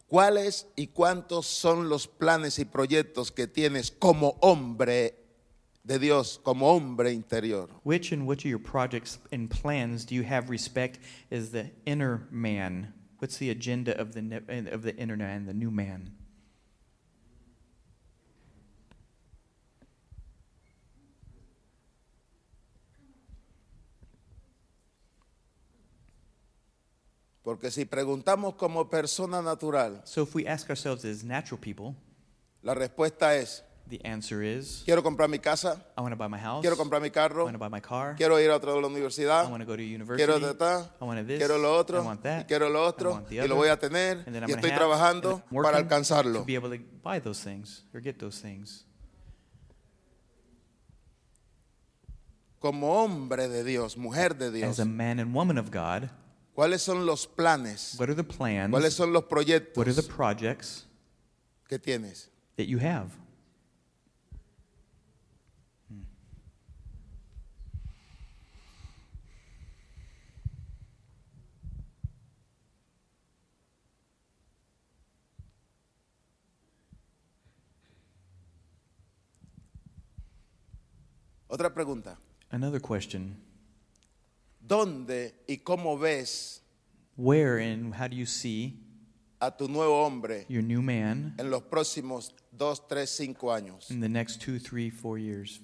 A: ¿Cuáles y cuántos son los planes y proyectos que tienes como hombre de Dios, como hombre interior?
B: Which and which of your projects and plans do you have respect as the inner man? What's the agenda of the ne- of the inner man, the new man?
A: Porque si preguntamos como persona natural,
B: So if we ask ourselves as natural people,
A: la respuesta es,
B: the answer is
A: quiero comprar mi casa,
B: I want to buy my house.
A: quiero comprar mi
B: I
A: carro,
B: want to buy my car.
A: quiero ir a otra de la
B: I
A: universidad,
B: want to go to university.
A: quiero tratar,
B: I want this.
A: quiero lo
B: I
A: otro,
B: want
A: y
B: that.
A: quiero lo
B: I
A: otro,
B: want the
A: y
B: other.
A: lo voy a tener,
B: and then I'm
A: y
B: gonna
A: estoy
B: have, and
A: trabajando
B: I'm working
A: para
B: To
A: alcanzarlo.
B: be able to buy those things or get those things.
A: Como hombre de Dios, mujer de Dios,
B: As a man and woman of God,
A: ¿cuáles son los planes?
B: what are the plans?
A: ¿Cuáles son los
B: what are the
A: proyectos
B: projects
A: que tienes?
B: that you have?
A: Otra pregunta.
B: Another question.
A: ¿Dónde y cómo ves
B: Where and how do you see
A: a tu nuevo hombre
B: your new man
A: en los próximos 2, 3, 5 años?
B: in the next two, three, four years?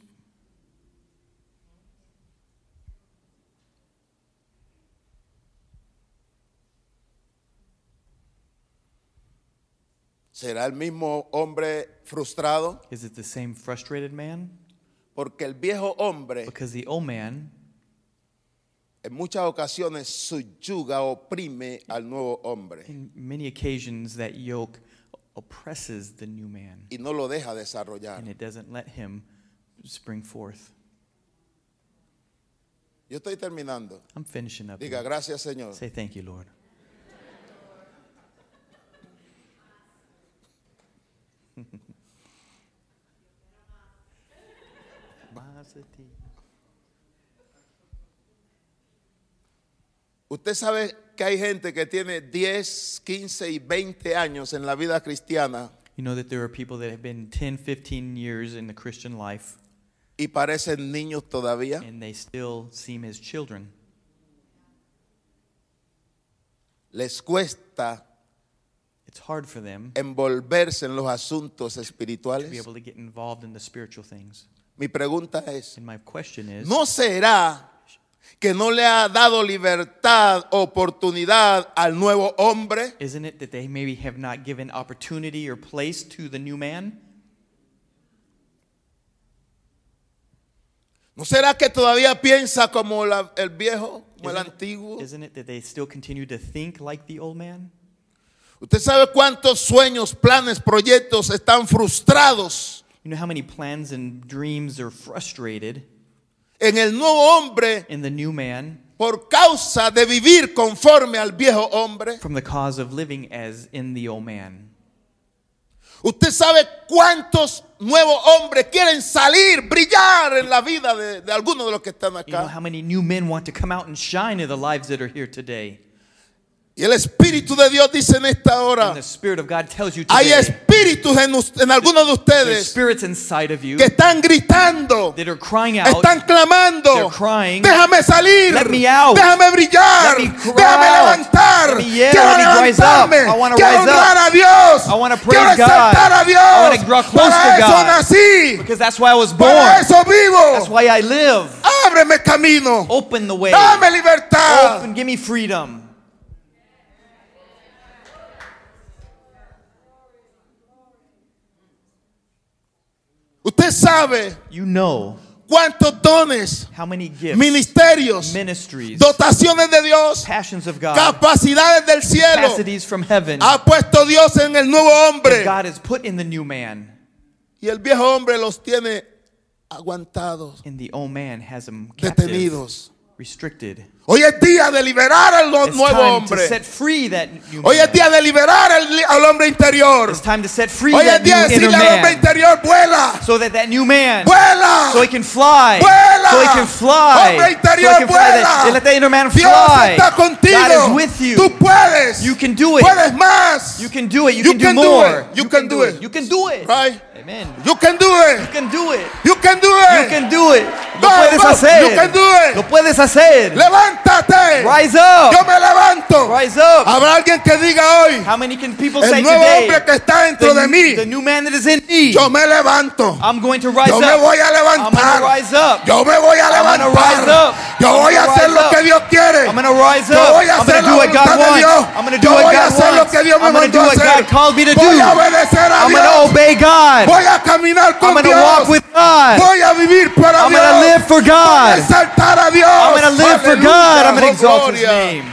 A: ¿Será el mismo hombre frustrado?
B: Is it the same frustrated man?
A: Eh. Porque el viejo hombre
B: Because the old man
A: en muchas ocasiones subyuga, oprime al nuevo hombre
B: In many occasions, that yoke oppresses the new man
A: y no lo deja desarrollar.
B: and it doesn't let him spring forth.
A: Yo estoy terminando.
B: I'm finishing up.
A: Diga,
B: here.
A: gracias Señor.
B: Say thank you,
A: *laughs*
B: Lord. Positive.
A: Usted sabe que hay gente que tiene 10, 15 y 20 años en la vida cristiana
B: You know that there are people that have been 10, 15 years in the Christian life
A: y parecen niños todavía.
B: and they still seem as children.
A: Les cuesta
B: It's hard for them
A: envolverse en los asuntos
B: to be
A: espirituales.
B: able to get involved in the spiritual things.
A: Mi pregunta es,
B: And my question is
A: ¿no será que no le ha dado libertad, oportunidad al nuevo hombre?
B: Isn't it that they maybe have not given opportunity or place to the new man?
A: ¿No será que todavía piensa como la- el viejo, como el
B: Isn't it-
A: antiguo?
B: Isn't it that they still continue to think like the old man?
A: Usted sabe cuántos sueños, planes, proyectos están frustrados.
B: You know how many plans and dreams are frustrated
A: en el nuevo hombre
B: in the new man
A: por causa de vivir conforme al viejo hombre.
B: from the cause of living as in the old man?
A: Usted sabe cuántos nuevos hombres quieren salir, brillar en la vida de, de algunos de los que están
B: You know
A: acá.
B: how many new men want to come out and shine in the lives that are here today?
A: Y el Espíritu de Dios dice en esta hora,
B: And the Spirit of God tells you
A: hay
B: today,
A: espíritus en, us- en algunos de
B: there's
A: ustedes
B: spirits inside of you
A: que están gritando,
B: that are crying out,
A: están
B: They're
A: clamando,
B: crying,
A: déjame salir,
B: "Let me out.
A: déjame brillar,
B: Let me cry
A: déjame
B: out.
A: levantar,
B: Let me yell.
A: quiero
B: Let me rise up.
A: levantarme,
B: I wanna
A: quiero
B: rise up.
A: honrar a Dios,
B: I wanna
A: quiero
B: praise God.
A: exaltar a
B: I wanna
A: Dios,
B: grow close
A: para
B: to
A: eso
B: God.
A: nací,
B: because that's why I was born.
A: para eso
B: That's
A: vivo,
B: why I live.
A: ábreme camino,
B: Open the way.
A: dame libertad,
B: Open, give me freedom.
A: usted sabe
B: You know
A: cuántos dones,
B: how many gifts,
A: ministerios,
B: ministries,
A: dotaciones de Dios,
B: passions of God,
A: capacidades del cielo,
B: capacities from heaven
A: ha puesto Dios en el nuevo
B: that
A: hombre.
B: God has put in the new man.
A: Y el viejo hombre los tiene aguantados,
B: And the old man has him captive,
A: detenidos.
B: restricted.
A: Hoy es día de liberar al no-
B: It's
A: nuevo
B: time to
A: hombre.
B: set free that new
A: Hoy es
B: man.
A: día de liberar al, li- al hombre interior.
B: It's time to set free
A: Hoy es
B: that
A: día de
B: new inner
A: decirle al hombre
B: man.
A: interior, vuela,
B: So that that new man,
A: vuela.
B: so he can fly,
A: Vuela.
B: so he can fly,
A: Hombre
B: so
A: interior,
B: he can fly. That,
A: vuela.
B: and let that inner man
A: Dios
B: fly.
A: está contigo.
B: God is with you.
A: Tú puedes.
B: You can do it.
A: Puedes más.
B: You can do it. You,
A: You
B: can,
A: can
B: do
A: do
B: more.
A: it. You can do it.
B: You can do it.
A: Right.
B: Amen.
A: You can do
B: You
A: it.
B: can do it.
A: You can do
B: You
A: it.
B: can do it. Lo
A: Go,
B: puedes
A: go.
B: hacer.
A: You can do it.
B: Lo puedes hacer.
A: Levántate.
B: Rise up.
A: Yo me levanto.
B: Rise
A: *laughs*
B: up.
A: Habrá alguien que diga hoy,
B: How many can people say
A: el nuevo
B: today?
A: hombre que está dentro
B: the,
A: de
B: new, the
A: mí,
B: new man that is in me.
A: yo me levanto.
B: I'm going to rise
A: Yo me
B: up.
A: voy a
B: I'm going to
A: levantar.
B: rise up.
A: Yo me voy a
B: I'm gonna rise
A: levantar.
B: up.
A: Yo
B: I'm
A: voy a
B: gonna
A: hacer
B: rise
A: lo
B: up.
A: que Dios quiere.
B: I'm going to rise
A: Yo
B: up.
A: voy a
B: I'm going
A: hacer
B: to
A: la
B: do what
A: voluntad
B: God
A: de Dios.
B: wants. I'm going to do
A: Yo
B: what
A: voy a
B: God
A: hacer lo
B: wants.
A: que Dios me
B: I'm going to
A: mandó
B: do
A: a
B: what God
A: hacer.
B: called me to do.
A: Voy a obedecer a
B: I'm going to
A: Dios.
B: obey God.
A: Voy a caminar
B: I'm
A: con
B: going to walk
A: Dios.
B: with God.
A: Voy a vivir para
B: I'm going to
A: Dios.
B: live for
A: Voy a
B: God.
A: exaltar a Dios.
B: I'm going to live for
A: Aleluya,
B: God. I'm going
A: oh,
B: to exalt His
A: gloria.
B: name.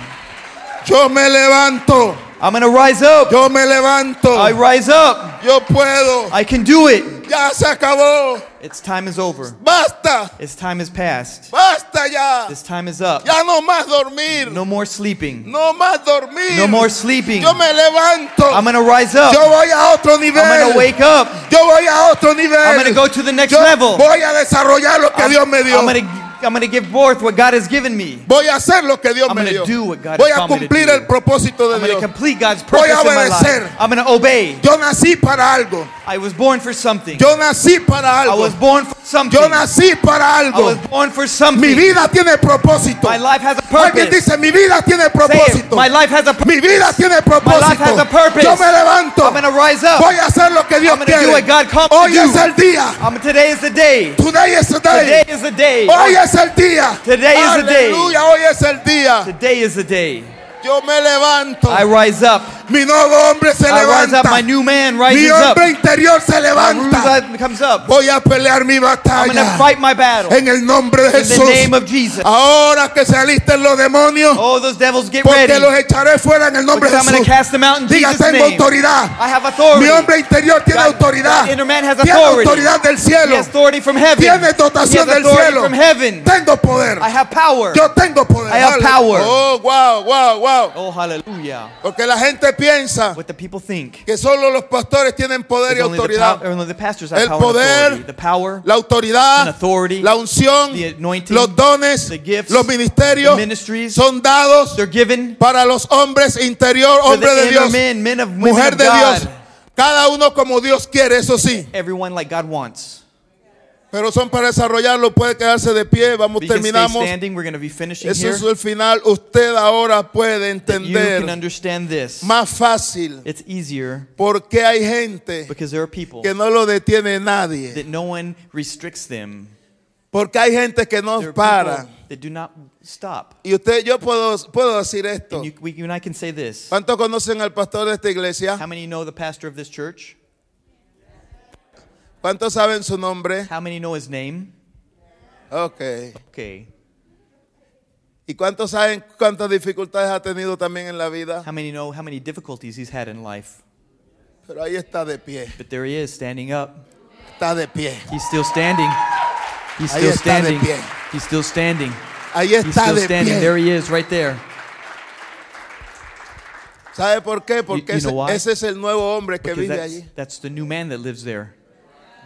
A: Yo me levanto.
B: I'm going to rise up.
A: Yo me levanto.
B: I rise up.
A: Yo puedo.
B: I can do it.
A: Ya se acabó.
B: Its time is over.
A: Basta.
B: Its time is past.
A: Basta ya.
B: This time is up.
A: Ya no más dormir.
B: No more sleeping.
A: No más dormir.
B: No more sleeping.
A: Yo me levanto.
B: I'm going to rise up.
A: Yo voy a otro nivel.
B: I'm going to wake up.
A: Yo voy a otro nivel.
B: I'm going to go to the next
A: Yo
B: level.
A: voy a desarrollar lo que Dios me dio.
B: I'm going to I'm going to give forth what God has given me.
A: voy a hacer lo que Dios
B: I'm
A: me
B: gonna
A: dio.
B: do what God
A: Voy
B: has
A: a
B: called me to
A: cumplir
B: do.
A: el propósito de
B: I'm going to
A: Dios.
B: complete God's
A: Voy a
B: purpose in my
A: obedecer.
B: life. I'm going to obey.
A: Yo nací para algo.
B: I was born for something.
A: Yo nací para
B: I
A: algo.
B: was born for something.
A: Yo
B: I
A: nací para algo.
B: was born for
A: Mi
B: something.
A: vida tiene propósito.
B: My life has a
A: Alguien
B: purpose.
A: dice, mi vida tiene
B: Say it.
A: propósito.
B: My life has a
A: Mi
B: purpose.
A: vida tiene propósito.
B: has a purpose.
A: Yo me levanto.
B: I'm going to rise up.
A: Voy a hacer lo que Dios
B: I'm gonna do
A: quiere.
B: what God called me
A: Hoy
B: to
A: es
B: do.
A: el día.
B: Um, today is the day.
A: Today is the
B: Today
A: day.
B: is the day.
A: Hoy es el día.
B: Today is the day.
A: Aleluya, hoy es el día.
B: Today is the day.
A: Yo me levanto.
B: I rise up.
A: Mi nuevo hombre se
B: I rise up, my
A: levanta.
B: new man
A: Mi
B: rises up.
A: hombre interior se
B: My
A: levanta.
B: ruse comes up.
A: Voy a pelear mi
B: I'm going to
A: batalla.
B: fight my battle in
A: En el nombre de
B: the name
A: Jesús.
B: of Jesus.
A: Ahora que se alisten los demonios,
B: Oh, those devils get
A: porque
B: ready
A: los echaré fuera en el nombre
B: because
A: de
B: I'm going to
A: Jesús.
B: cast them out in
A: Diga,
B: Jesus'
A: tengo
B: name.
A: autoridad.
B: I have authority.
A: Mi hombre interior tiene
B: God-
A: autoridad.
B: God inner man has
A: Tiene
B: authority.
A: autoridad del
B: He
A: cielo.
B: has authority from heaven.
A: Tiene
B: he has
A: dotación del
B: authority
A: cielo.
B: from heaven.
A: Tengo poder.
B: I have power.
A: Yo tengo poder.
B: I have
A: Dale.
B: power.
A: Oh, wow, wow, wow.
B: Oh, hallelujah.
A: Porque la gente piensa
B: What the people think.
A: que solo los pastores tienen poder
B: is
A: y
B: Only the, pow-
A: autoridad.
B: only the pastors have
A: El
B: power
A: poder,
B: and authority. The power,
A: La
B: and
A: autoridad,
B: authority,
A: la unción,
B: the anointing,
A: los dones,
B: the gifts,
A: los ministerios
B: the ministries,
A: son dados
B: they're given
A: para los hombres interior,
B: for the
A: hombre de
B: inner
A: Dios,
B: men, men of women
A: mujer
B: of
A: de
B: God.
A: Dios. Cada uno como Dios quiere, eso sí.
B: Everyone like God wants.
A: Pero son para desarrollarlo. Puede quedarse de pie. Vamos,
B: We can stay
A: terminamos.
B: standing. We're going to be finishing
A: Eso
B: here.
A: es el final. Usted ahora puede
B: That you can
A: entender
B: understand this.
A: más fácil
B: It's easier
A: por qué hay gente
B: because there are people
A: que no lo detiene nadie.
B: that no one restricts them.
A: Porque hay gente que
B: There
A: no
B: are people
A: para.
B: that do not stop.
A: Y usted, yo puedo, puedo decir esto.
B: And you, we, you and I can say this.
A: ¿Cuántos conocen al pastor de esta
B: How
A: iglesia?
B: many know the pastor of this church?
A: ¿Cuántos saben su nombre?
B: How many know his name?
A: Ok.
B: Okay.
A: ¿Y cuántos saben cuántas dificultades ha tenido también en la vida?
B: How many know how many difficulties he's had in life?
A: Pero ahí está de pie.
B: But there he is, standing up.
A: Está de pie.
B: He's still standing. He's
A: Ahí
B: still
A: está de
B: standing.
A: pie.
B: He's still standing.
A: Ahí
B: He's
A: está
B: still
A: de
B: standing. There
A: pie.
B: he is, right there.
A: ¿Sabe por qué? Porque
B: you know
A: ese-
B: why?
A: ese es el nuevo hombre que
B: Because
A: vive
B: that's,
A: allí.
B: that's the new man that lives there.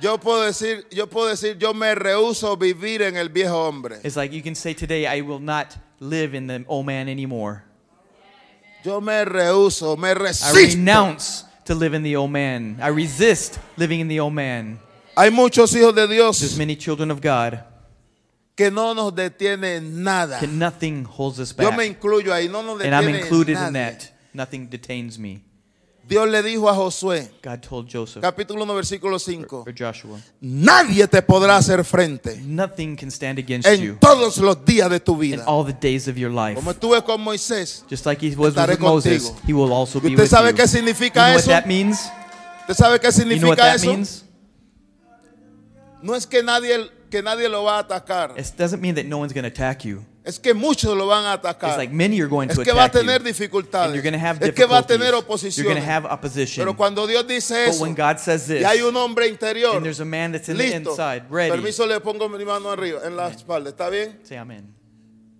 A: Yo puedo decir, yo puedo decir, yo me rehúso vivir en el viejo hombre.
B: It's like you can say today, I will not live in the old man anymore.
A: Yo me rehúso, me
B: I
A: resisto.
B: renounce to live in the old man. I resist living in the old man.
A: Hay muchos hijos de
B: There's
A: Dios
B: many children of God
A: que no nos detienen nada.
B: that nothing holds us
A: Yo me
B: back.
A: incluyo ahí, no nos
B: And I'm
A: detiene
B: included in
A: nadie.
B: that. Nothing detains me.
A: Dios le dijo a Josué,
B: God told Joseph
A: capítulo 1, versículo 5,
B: or Joshua,
A: nadie te podrá hacer frente
B: nothing can stand against you
A: en todos los días de tu
B: in
A: vida.
B: all the days of your life.
A: Como estuve con Moisés,
B: Just like he was
A: Estaré
B: with Moses,
A: contigo.
B: he will also
A: ¿Y
B: be
A: usted
B: with
A: sabe
B: you.
A: qué
B: You know
A: significa
B: what
A: eso?
B: that means?
A: ¿Usted sabe qué
B: You know
A: significa
B: what that
A: eso?
B: means?
A: No es que nadie, que nadie lo va a atacar,
B: It doesn't mean that no one's going to attack you.
A: es que muchos lo van a
B: It's
A: atacar.
B: like many are going
A: Es
B: to
A: que va a
B: attack
A: tener
B: you. And
A: dificultades.
B: you're going to have
A: Es que va a
B: difficulties.
A: tener
B: You're going to
A: oposición.
B: have opposition.
A: Pero cuando Dios dice
B: But
A: eso,
B: when God says
A: y hay
B: this,
A: un hombre interior,
B: and there's a man that's in the
A: listo.
B: inside, ready,
A: Permiso, le pongo mi mano arriba, en la espalda. ¿Está bien?
B: say amen.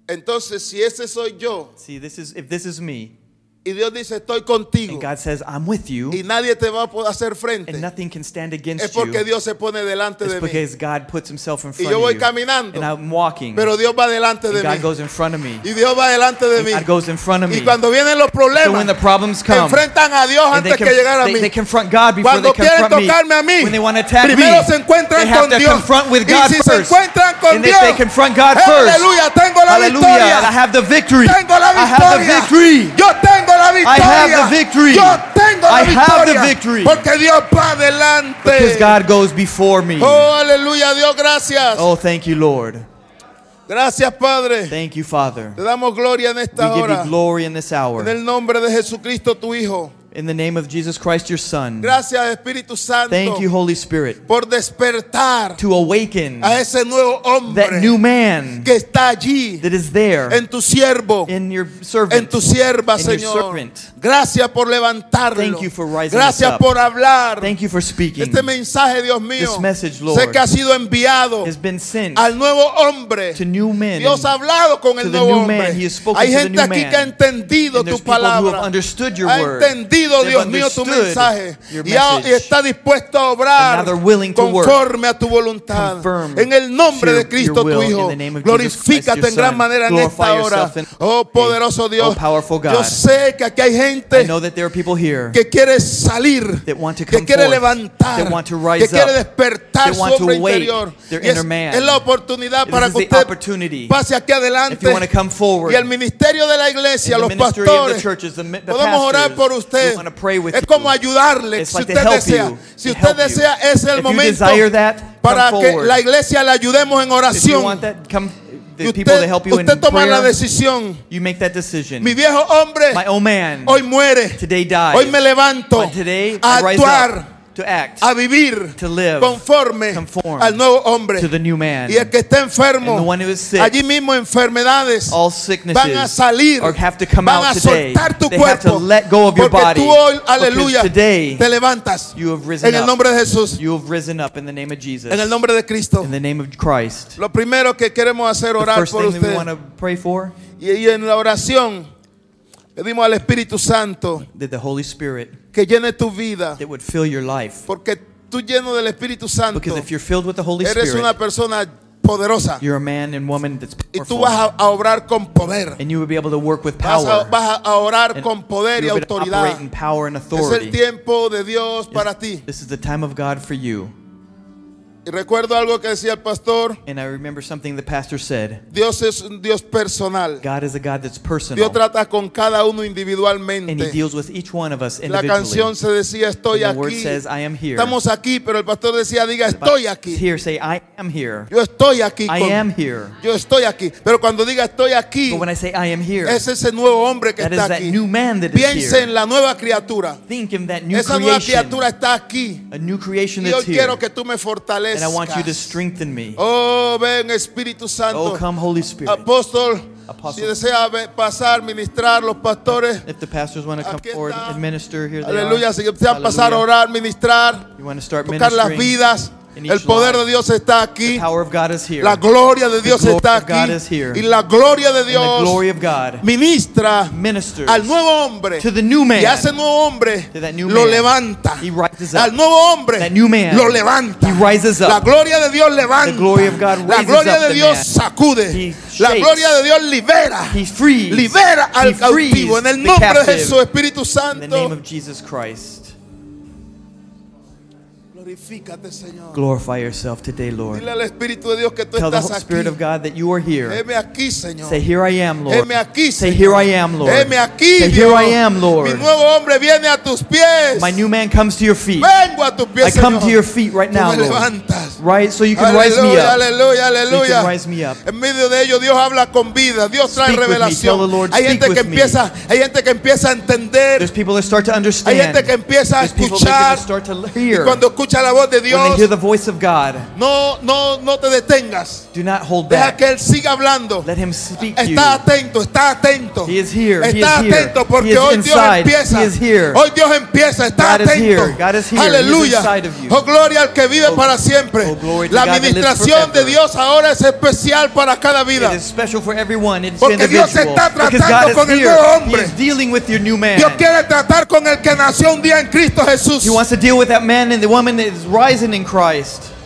A: Entonces, si ese soy yo,
B: See, this is if this is me,
A: y Dios dice, estoy contigo,
B: and God says I'm with
A: y
B: you,
A: nadie te va a poder hacer
B: and
A: frente,
B: nothing can stand
A: es
B: against
A: porque
B: you,
A: Dios se pone delante
B: it's
A: de mí.
B: because God puts Himself in
A: Y
B: front
A: yo voy
B: of you, and
A: caminando,
B: I'm walking,
A: pero Dios va delante
B: and
A: de
B: God
A: mí.
B: goes in front of me,
A: Y Dios va delante de
B: and
A: mí.
B: God goes in front of
A: Y
B: me.
A: cuando vienen los
B: So when
A: problemas,
B: the problems come,
A: enfrentan a Dios
B: and
A: antes
B: they,
A: que
B: conf-
A: llegar a
B: they-
A: mí.
B: they confront God before
A: Cuando
B: they
A: quieren
B: confront me.
A: tocarme a mí,
B: when they want to attack
A: primero
B: me,
A: se
B: they
A: encuentran
B: have
A: con
B: to
A: Dios.
B: confront with
A: Y
B: God
A: si se
B: first.
A: encuentran con
B: and if they
A: Dios, ¡eh,
B: confront God first,
A: aleluya, tengo la
B: hallelujah, I
A: victoria.
B: have the victory.
A: Tengo la
B: I have the
A: victoria.
B: victory.
A: Yo tengo la victoria.
B: the victory.
A: Yo tengo la
B: I have the
A: victoria.
B: victory.
A: Porque Dios va adelante.
B: Because God goes before me.
A: Oh, aleluya, Dios, gracias.
B: Oh, thank you, Lord.
A: Gracias, Padre.
B: Thank you, Father.
A: Te damos gloria en
B: We
A: esta
B: give you
A: hora.
B: glory in this
A: En
B: hour.
A: el nombre de Jesucristo, tu Hijo.
B: In the name of Jesus Christ, your Son.
A: Gracias, Espíritu Santo,
B: Thank you, Holy Spirit,
A: por despertar
B: to awaken
A: a ese nuevo hombre
B: that new man
A: que está allí
B: that is there
A: en tu siervo.
B: in your
A: en
B: servant.
A: tu sierva,
B: in your
A: Señor.
B: servant.
A: Gracias por levantarlo.
B: Thank you for rising
A: Gracias
B: us up.
A: por hablar.
B: Thank you for speaking.
A: Este mensaje, Dios mío,
B: This message, Lord,
A: sé que ha sido enviado
B: Has been sent
A: al nuevo hombre.
B: to new men.
A: Dios ha hablado con el
B: the
A: nuevo
B: new man.
A: hombre.
B: He has spoken
A: Hay
B: to the
A: gente
B: new
A: aquí
B: man.
A: que ha entendido
B: And there's
A: tu
B: people who have
A: palabra.
B: understood your
A: Ha
B: word.
A: entendido,
B: They've
A: Dios mío, tu
B: understood
A: mensaje.
B: your
A: Y, ha- y
B: message.
A: está dispuesto a obrar
B: And now they're willing to work
A: conforme a tu voluntad.
B: conform
A: En el nombre
B: to
A: de
B: your
A: Cristo, tu
B: will. In
A: Hijo,
B: the name of Jesus Christ,
A: glorifícate
B: your
A: en gran
B: Son.
A: manera en
B: Glorify
A: esta hora.
B: yourself in-
A: Oh, poderoso Dios.
B: Oh, powerful
A: Yo
B: God.
A: sé que aquí hay
B: I
A: gente
B: know that there are people here
A: que quiere salir,
B: that want to
A: que
B: come
A: quiere
B: forth,
A: levantar,
B: that want to
A: que
B: rise
A: quiere
B: up,
A: despertar
B: that
A: su
B: want to
A: hombre
B: awake
A: interior.
B: their
A: Y es,
B: inner man.
A: es la oportunidad
B: This
A: para
B: is
A: que
B: the
A: usted
B: opportunity.
A: pase aquí
B: if
A: adelante
B: you want to come forward.
A: y el ministerio de la iglesia,
B: And the
A: los
B: ministry of the
A: pastores.
B: churches, the mi- the
A: Podemos orar
B: pastors,
A: por
B: we
A: usted.
B: wanna pray with
A: Es
B: you.
A: como ayudarle
B: It's
A: si
B: like to
A: usted
B: help
A: desea.
B: you,
A: Si
B: to
A: usted
B: help you.
A: desea, es
B: If
A: el
B: you
A: momento
B: desire that, come
A: para que
B: forward.
A: la iglesia le ayudemos en
B: If you
A: oración.
B: want that, come. the
A: Y
B: people that
A: usted,
B: help you in
A: usted toma la
B: prayer.
A: decisión.
B: You make that decision.
A: Mi viejo hombre
B: My old man
A: hoy muere.
B: today dies.
A: Hoy me levanto
B: But today
A: a
B: I rise
A: actuar,
B: up to act
A: a vivir
B: To live
A: conforme
B: conform
A: al nuevo hombre.
B: to the new man.
A: Y el que está
B: And the
A: enfermo,
B: one who is sick,
A: allí mismo enfermedades
B: all
A: van a
B: sicknesses
A: salir,
B: or have to come
A: van
B: out
A: a
B: today.
A: soltar tu
B: They have to
A: cuerpo.
B: let go of your
A: Porque
B: body.
A: tú hoy,
B: Because
A: aleluya,
B: today
A: te levantas.
B: you have risen
A: En el
B: up.
A: nombre de Jesús,
B: You have risen up in the name of Jesus.
A: en el nombre de Cristo.
B: in the name of Christ.
A: Lo primero que queremos hacer
B: The
A: orar
B: first
A: por
B: thing that we
A: usted.
B: want to pray for
A: Y, y en la oración pedimos al Espíritu Santo
B: that the Holy Spirit
A: que llene tu vida.
B: that would fill your life.
A: Porque tú lleno del Espíritu Santo
B: Because if you're filled with the Holy
A: eres
B: Spirit,
A: una persona poderosa.
B: you're a man and woman that's
A: Y tú
B: powerful,
A: vas a, a obrar con poder.
B: and you would be able to work with
A: Vas a,
B: power.
A: vas a- a orar
B: and
A: con poder y
B: you'll be able to
A: autoridad.
B: operate in power and
A: Es el
B: authority.
A: tiempo de Dios para ti.
B: This is the time of God for you.
A: Y recuerdo algo que decía el pastor.
B: And I remember something the pastor said.
A: Dios es un Dios personal.
B: God is a God that's
A: Dios
B: personal,
A: trata con cada uno
B: and He
A: individualmente.
B: deals with each one of us
A: La
B: individually.
A: canción se decía estoy
B: And the word
A: aquí.
B: says, "I am here."
A: Estamos aquí, pero el pastor decía diga estoy aquí.
B: Here, say, "I am here."
A: Yo estoy aquí.
B: I
A: con-
B: am here.
A: Yo estoy aquí. Pero cuando diga estoy aquí,
B: But when I say "I am here,"
A: es ese nuevo hombre que
B: that
A: está
B: is that
A: aquí.
B: new man that is
A: Piense
B: here.
A: en la nueva criatura.
B: Think of that new
A: Esa nueva
B: creation.
A: criatura está aquí.
B: A new creation
A: Y yo
B: that's here.
A: quiero que tú me
B: And I want you to
A: fortalezcas.
B: strengthen me.
A: Oh, ven Espíritu
B: Oh,
A: Santo.
B: come, Holy Spirit.
A: Apóstol, si
B: Apostle.
A: desea ve- pasar, ministrar, los pastores.
B: If the pastors want to come
A: Aquí
B: forward
A: está.
B: and minister, here they
A: Aleluya,
B: are.
A: si desean pasar a
B: Hallelujah.
A: orar, ministrar,
B: You want to start
A: tocar las
B: ministering.
A: vidas.
B: in each
A: El poder
B: life.
A: de Dios está aquí.
B: The power of God is here.
A: La gloria de Dios
B: glory
A: está
B: of God is
A: aquí.
B: here.
A: Y la gloria de
B: and the glory
A: Dios
B: of God
A: ministra
B: ministers
A: al nuevo hombre.
B: to the new man.
A: Y a ese nuevo hombre
B: To that new
A: lo
B: man.
A: levanta.
B: He rises up.
A: Al nuevo hombre
B: That new man.
A: lo levanta.
B: He rises up.
A: La gloria de Dios levanta.
B: The glory of God
A: la
B: raises
A: gloria
B: up
A: de
B: the
A: Dios
B: man.
A: sacude.
B: He
A: La
B: shakes.
A: gloria de Dios libera.
B: He frees.
A: libera
B: He
A: al
B: frees
A: cautivo. En el
B: the
A: nombre de
B: captive.
A: Jesús, Espíritu
B: In the name
A: Santo.
B: of Jesus Christ.
A: Glorifícate, Señor.
B: Glorify yourself today, Lord.
A: Dile al Espíritu de Dios que tú
B: Tell the
A: estás aquí.
B: Holy Spirit of God that you are here.
A: Heme aquí, Señor.
B: Say, Here I am, Lord.
A: Heme aquí,
B: Say,
A: Señor.
B: Here I am, Lord.
A: Heme aquí,
B: Say, Here
A: Dios.
B: I am,
A: Mi
B: Lord.
A: nuevo hombre viene a tus pies.
B: My new man comes to your feet.
A: Vengo a tus pies,
B: I come
A: Señor.
B: to your feet right
A: Tú
B: now,
A: me
B: Lord.
A: levantas.
B: Right? So you can rise me
A: Aleluya,
B: up.
A: aleluya,
B: So you
A: aleluya.
B: can rise me up.
A: En medio de ello Dios habla con vida, Dios trae
B: Speak with me. Tell
A: revelación.
B: the Lord,
A: hay
B: speak
A: gente que
B: with me.
A: empieza, hay gente que empieza a
B: There's
A: entender,
B: people that start to
A: hay
B: understand.
A: gente que empieza a
B: There's people that
A: escuchar.
B: can start to
A: Y
B: hear.
A: cuando escucha la voz de
B: when they hear
A: Dios,
B: the voice of God,
A: no, no, no te detengas.
B: do not hold
A: Deja
B: back.
A: que él siga hablando.
B: Let him speak to you.
A: Está atento, está atento.
B: He is here, he
A: Está
B: is here.
A: atento
B: He
A: porque
B: is
A: hoy Dios
B: inside,
A: empieza.
B: he is here.
A: Hoy Dios empieza, está
B: God is
A: atento.
B: here, God is here, he is
A: Aleluya.
B: inside of you.
A: Oh gloria al que vive para siempre.
B: oh, glory to
A: La
B: God that lives
A: administración de
B: forever.
A: Dios ahora es especial para cada vida.
B: It is special for everyone. It's
A: Porque
B: individual.
A: Dios está
B: because
A: tratando
B: God is
A: con el
B: here.
A: nuevo hombre.
B: He is dealing with your new man.
A: Dios quiere tratar con el que nació un día en Cristo Jesús.
B: He wants to deal with that man and the woman that is rising in Christ.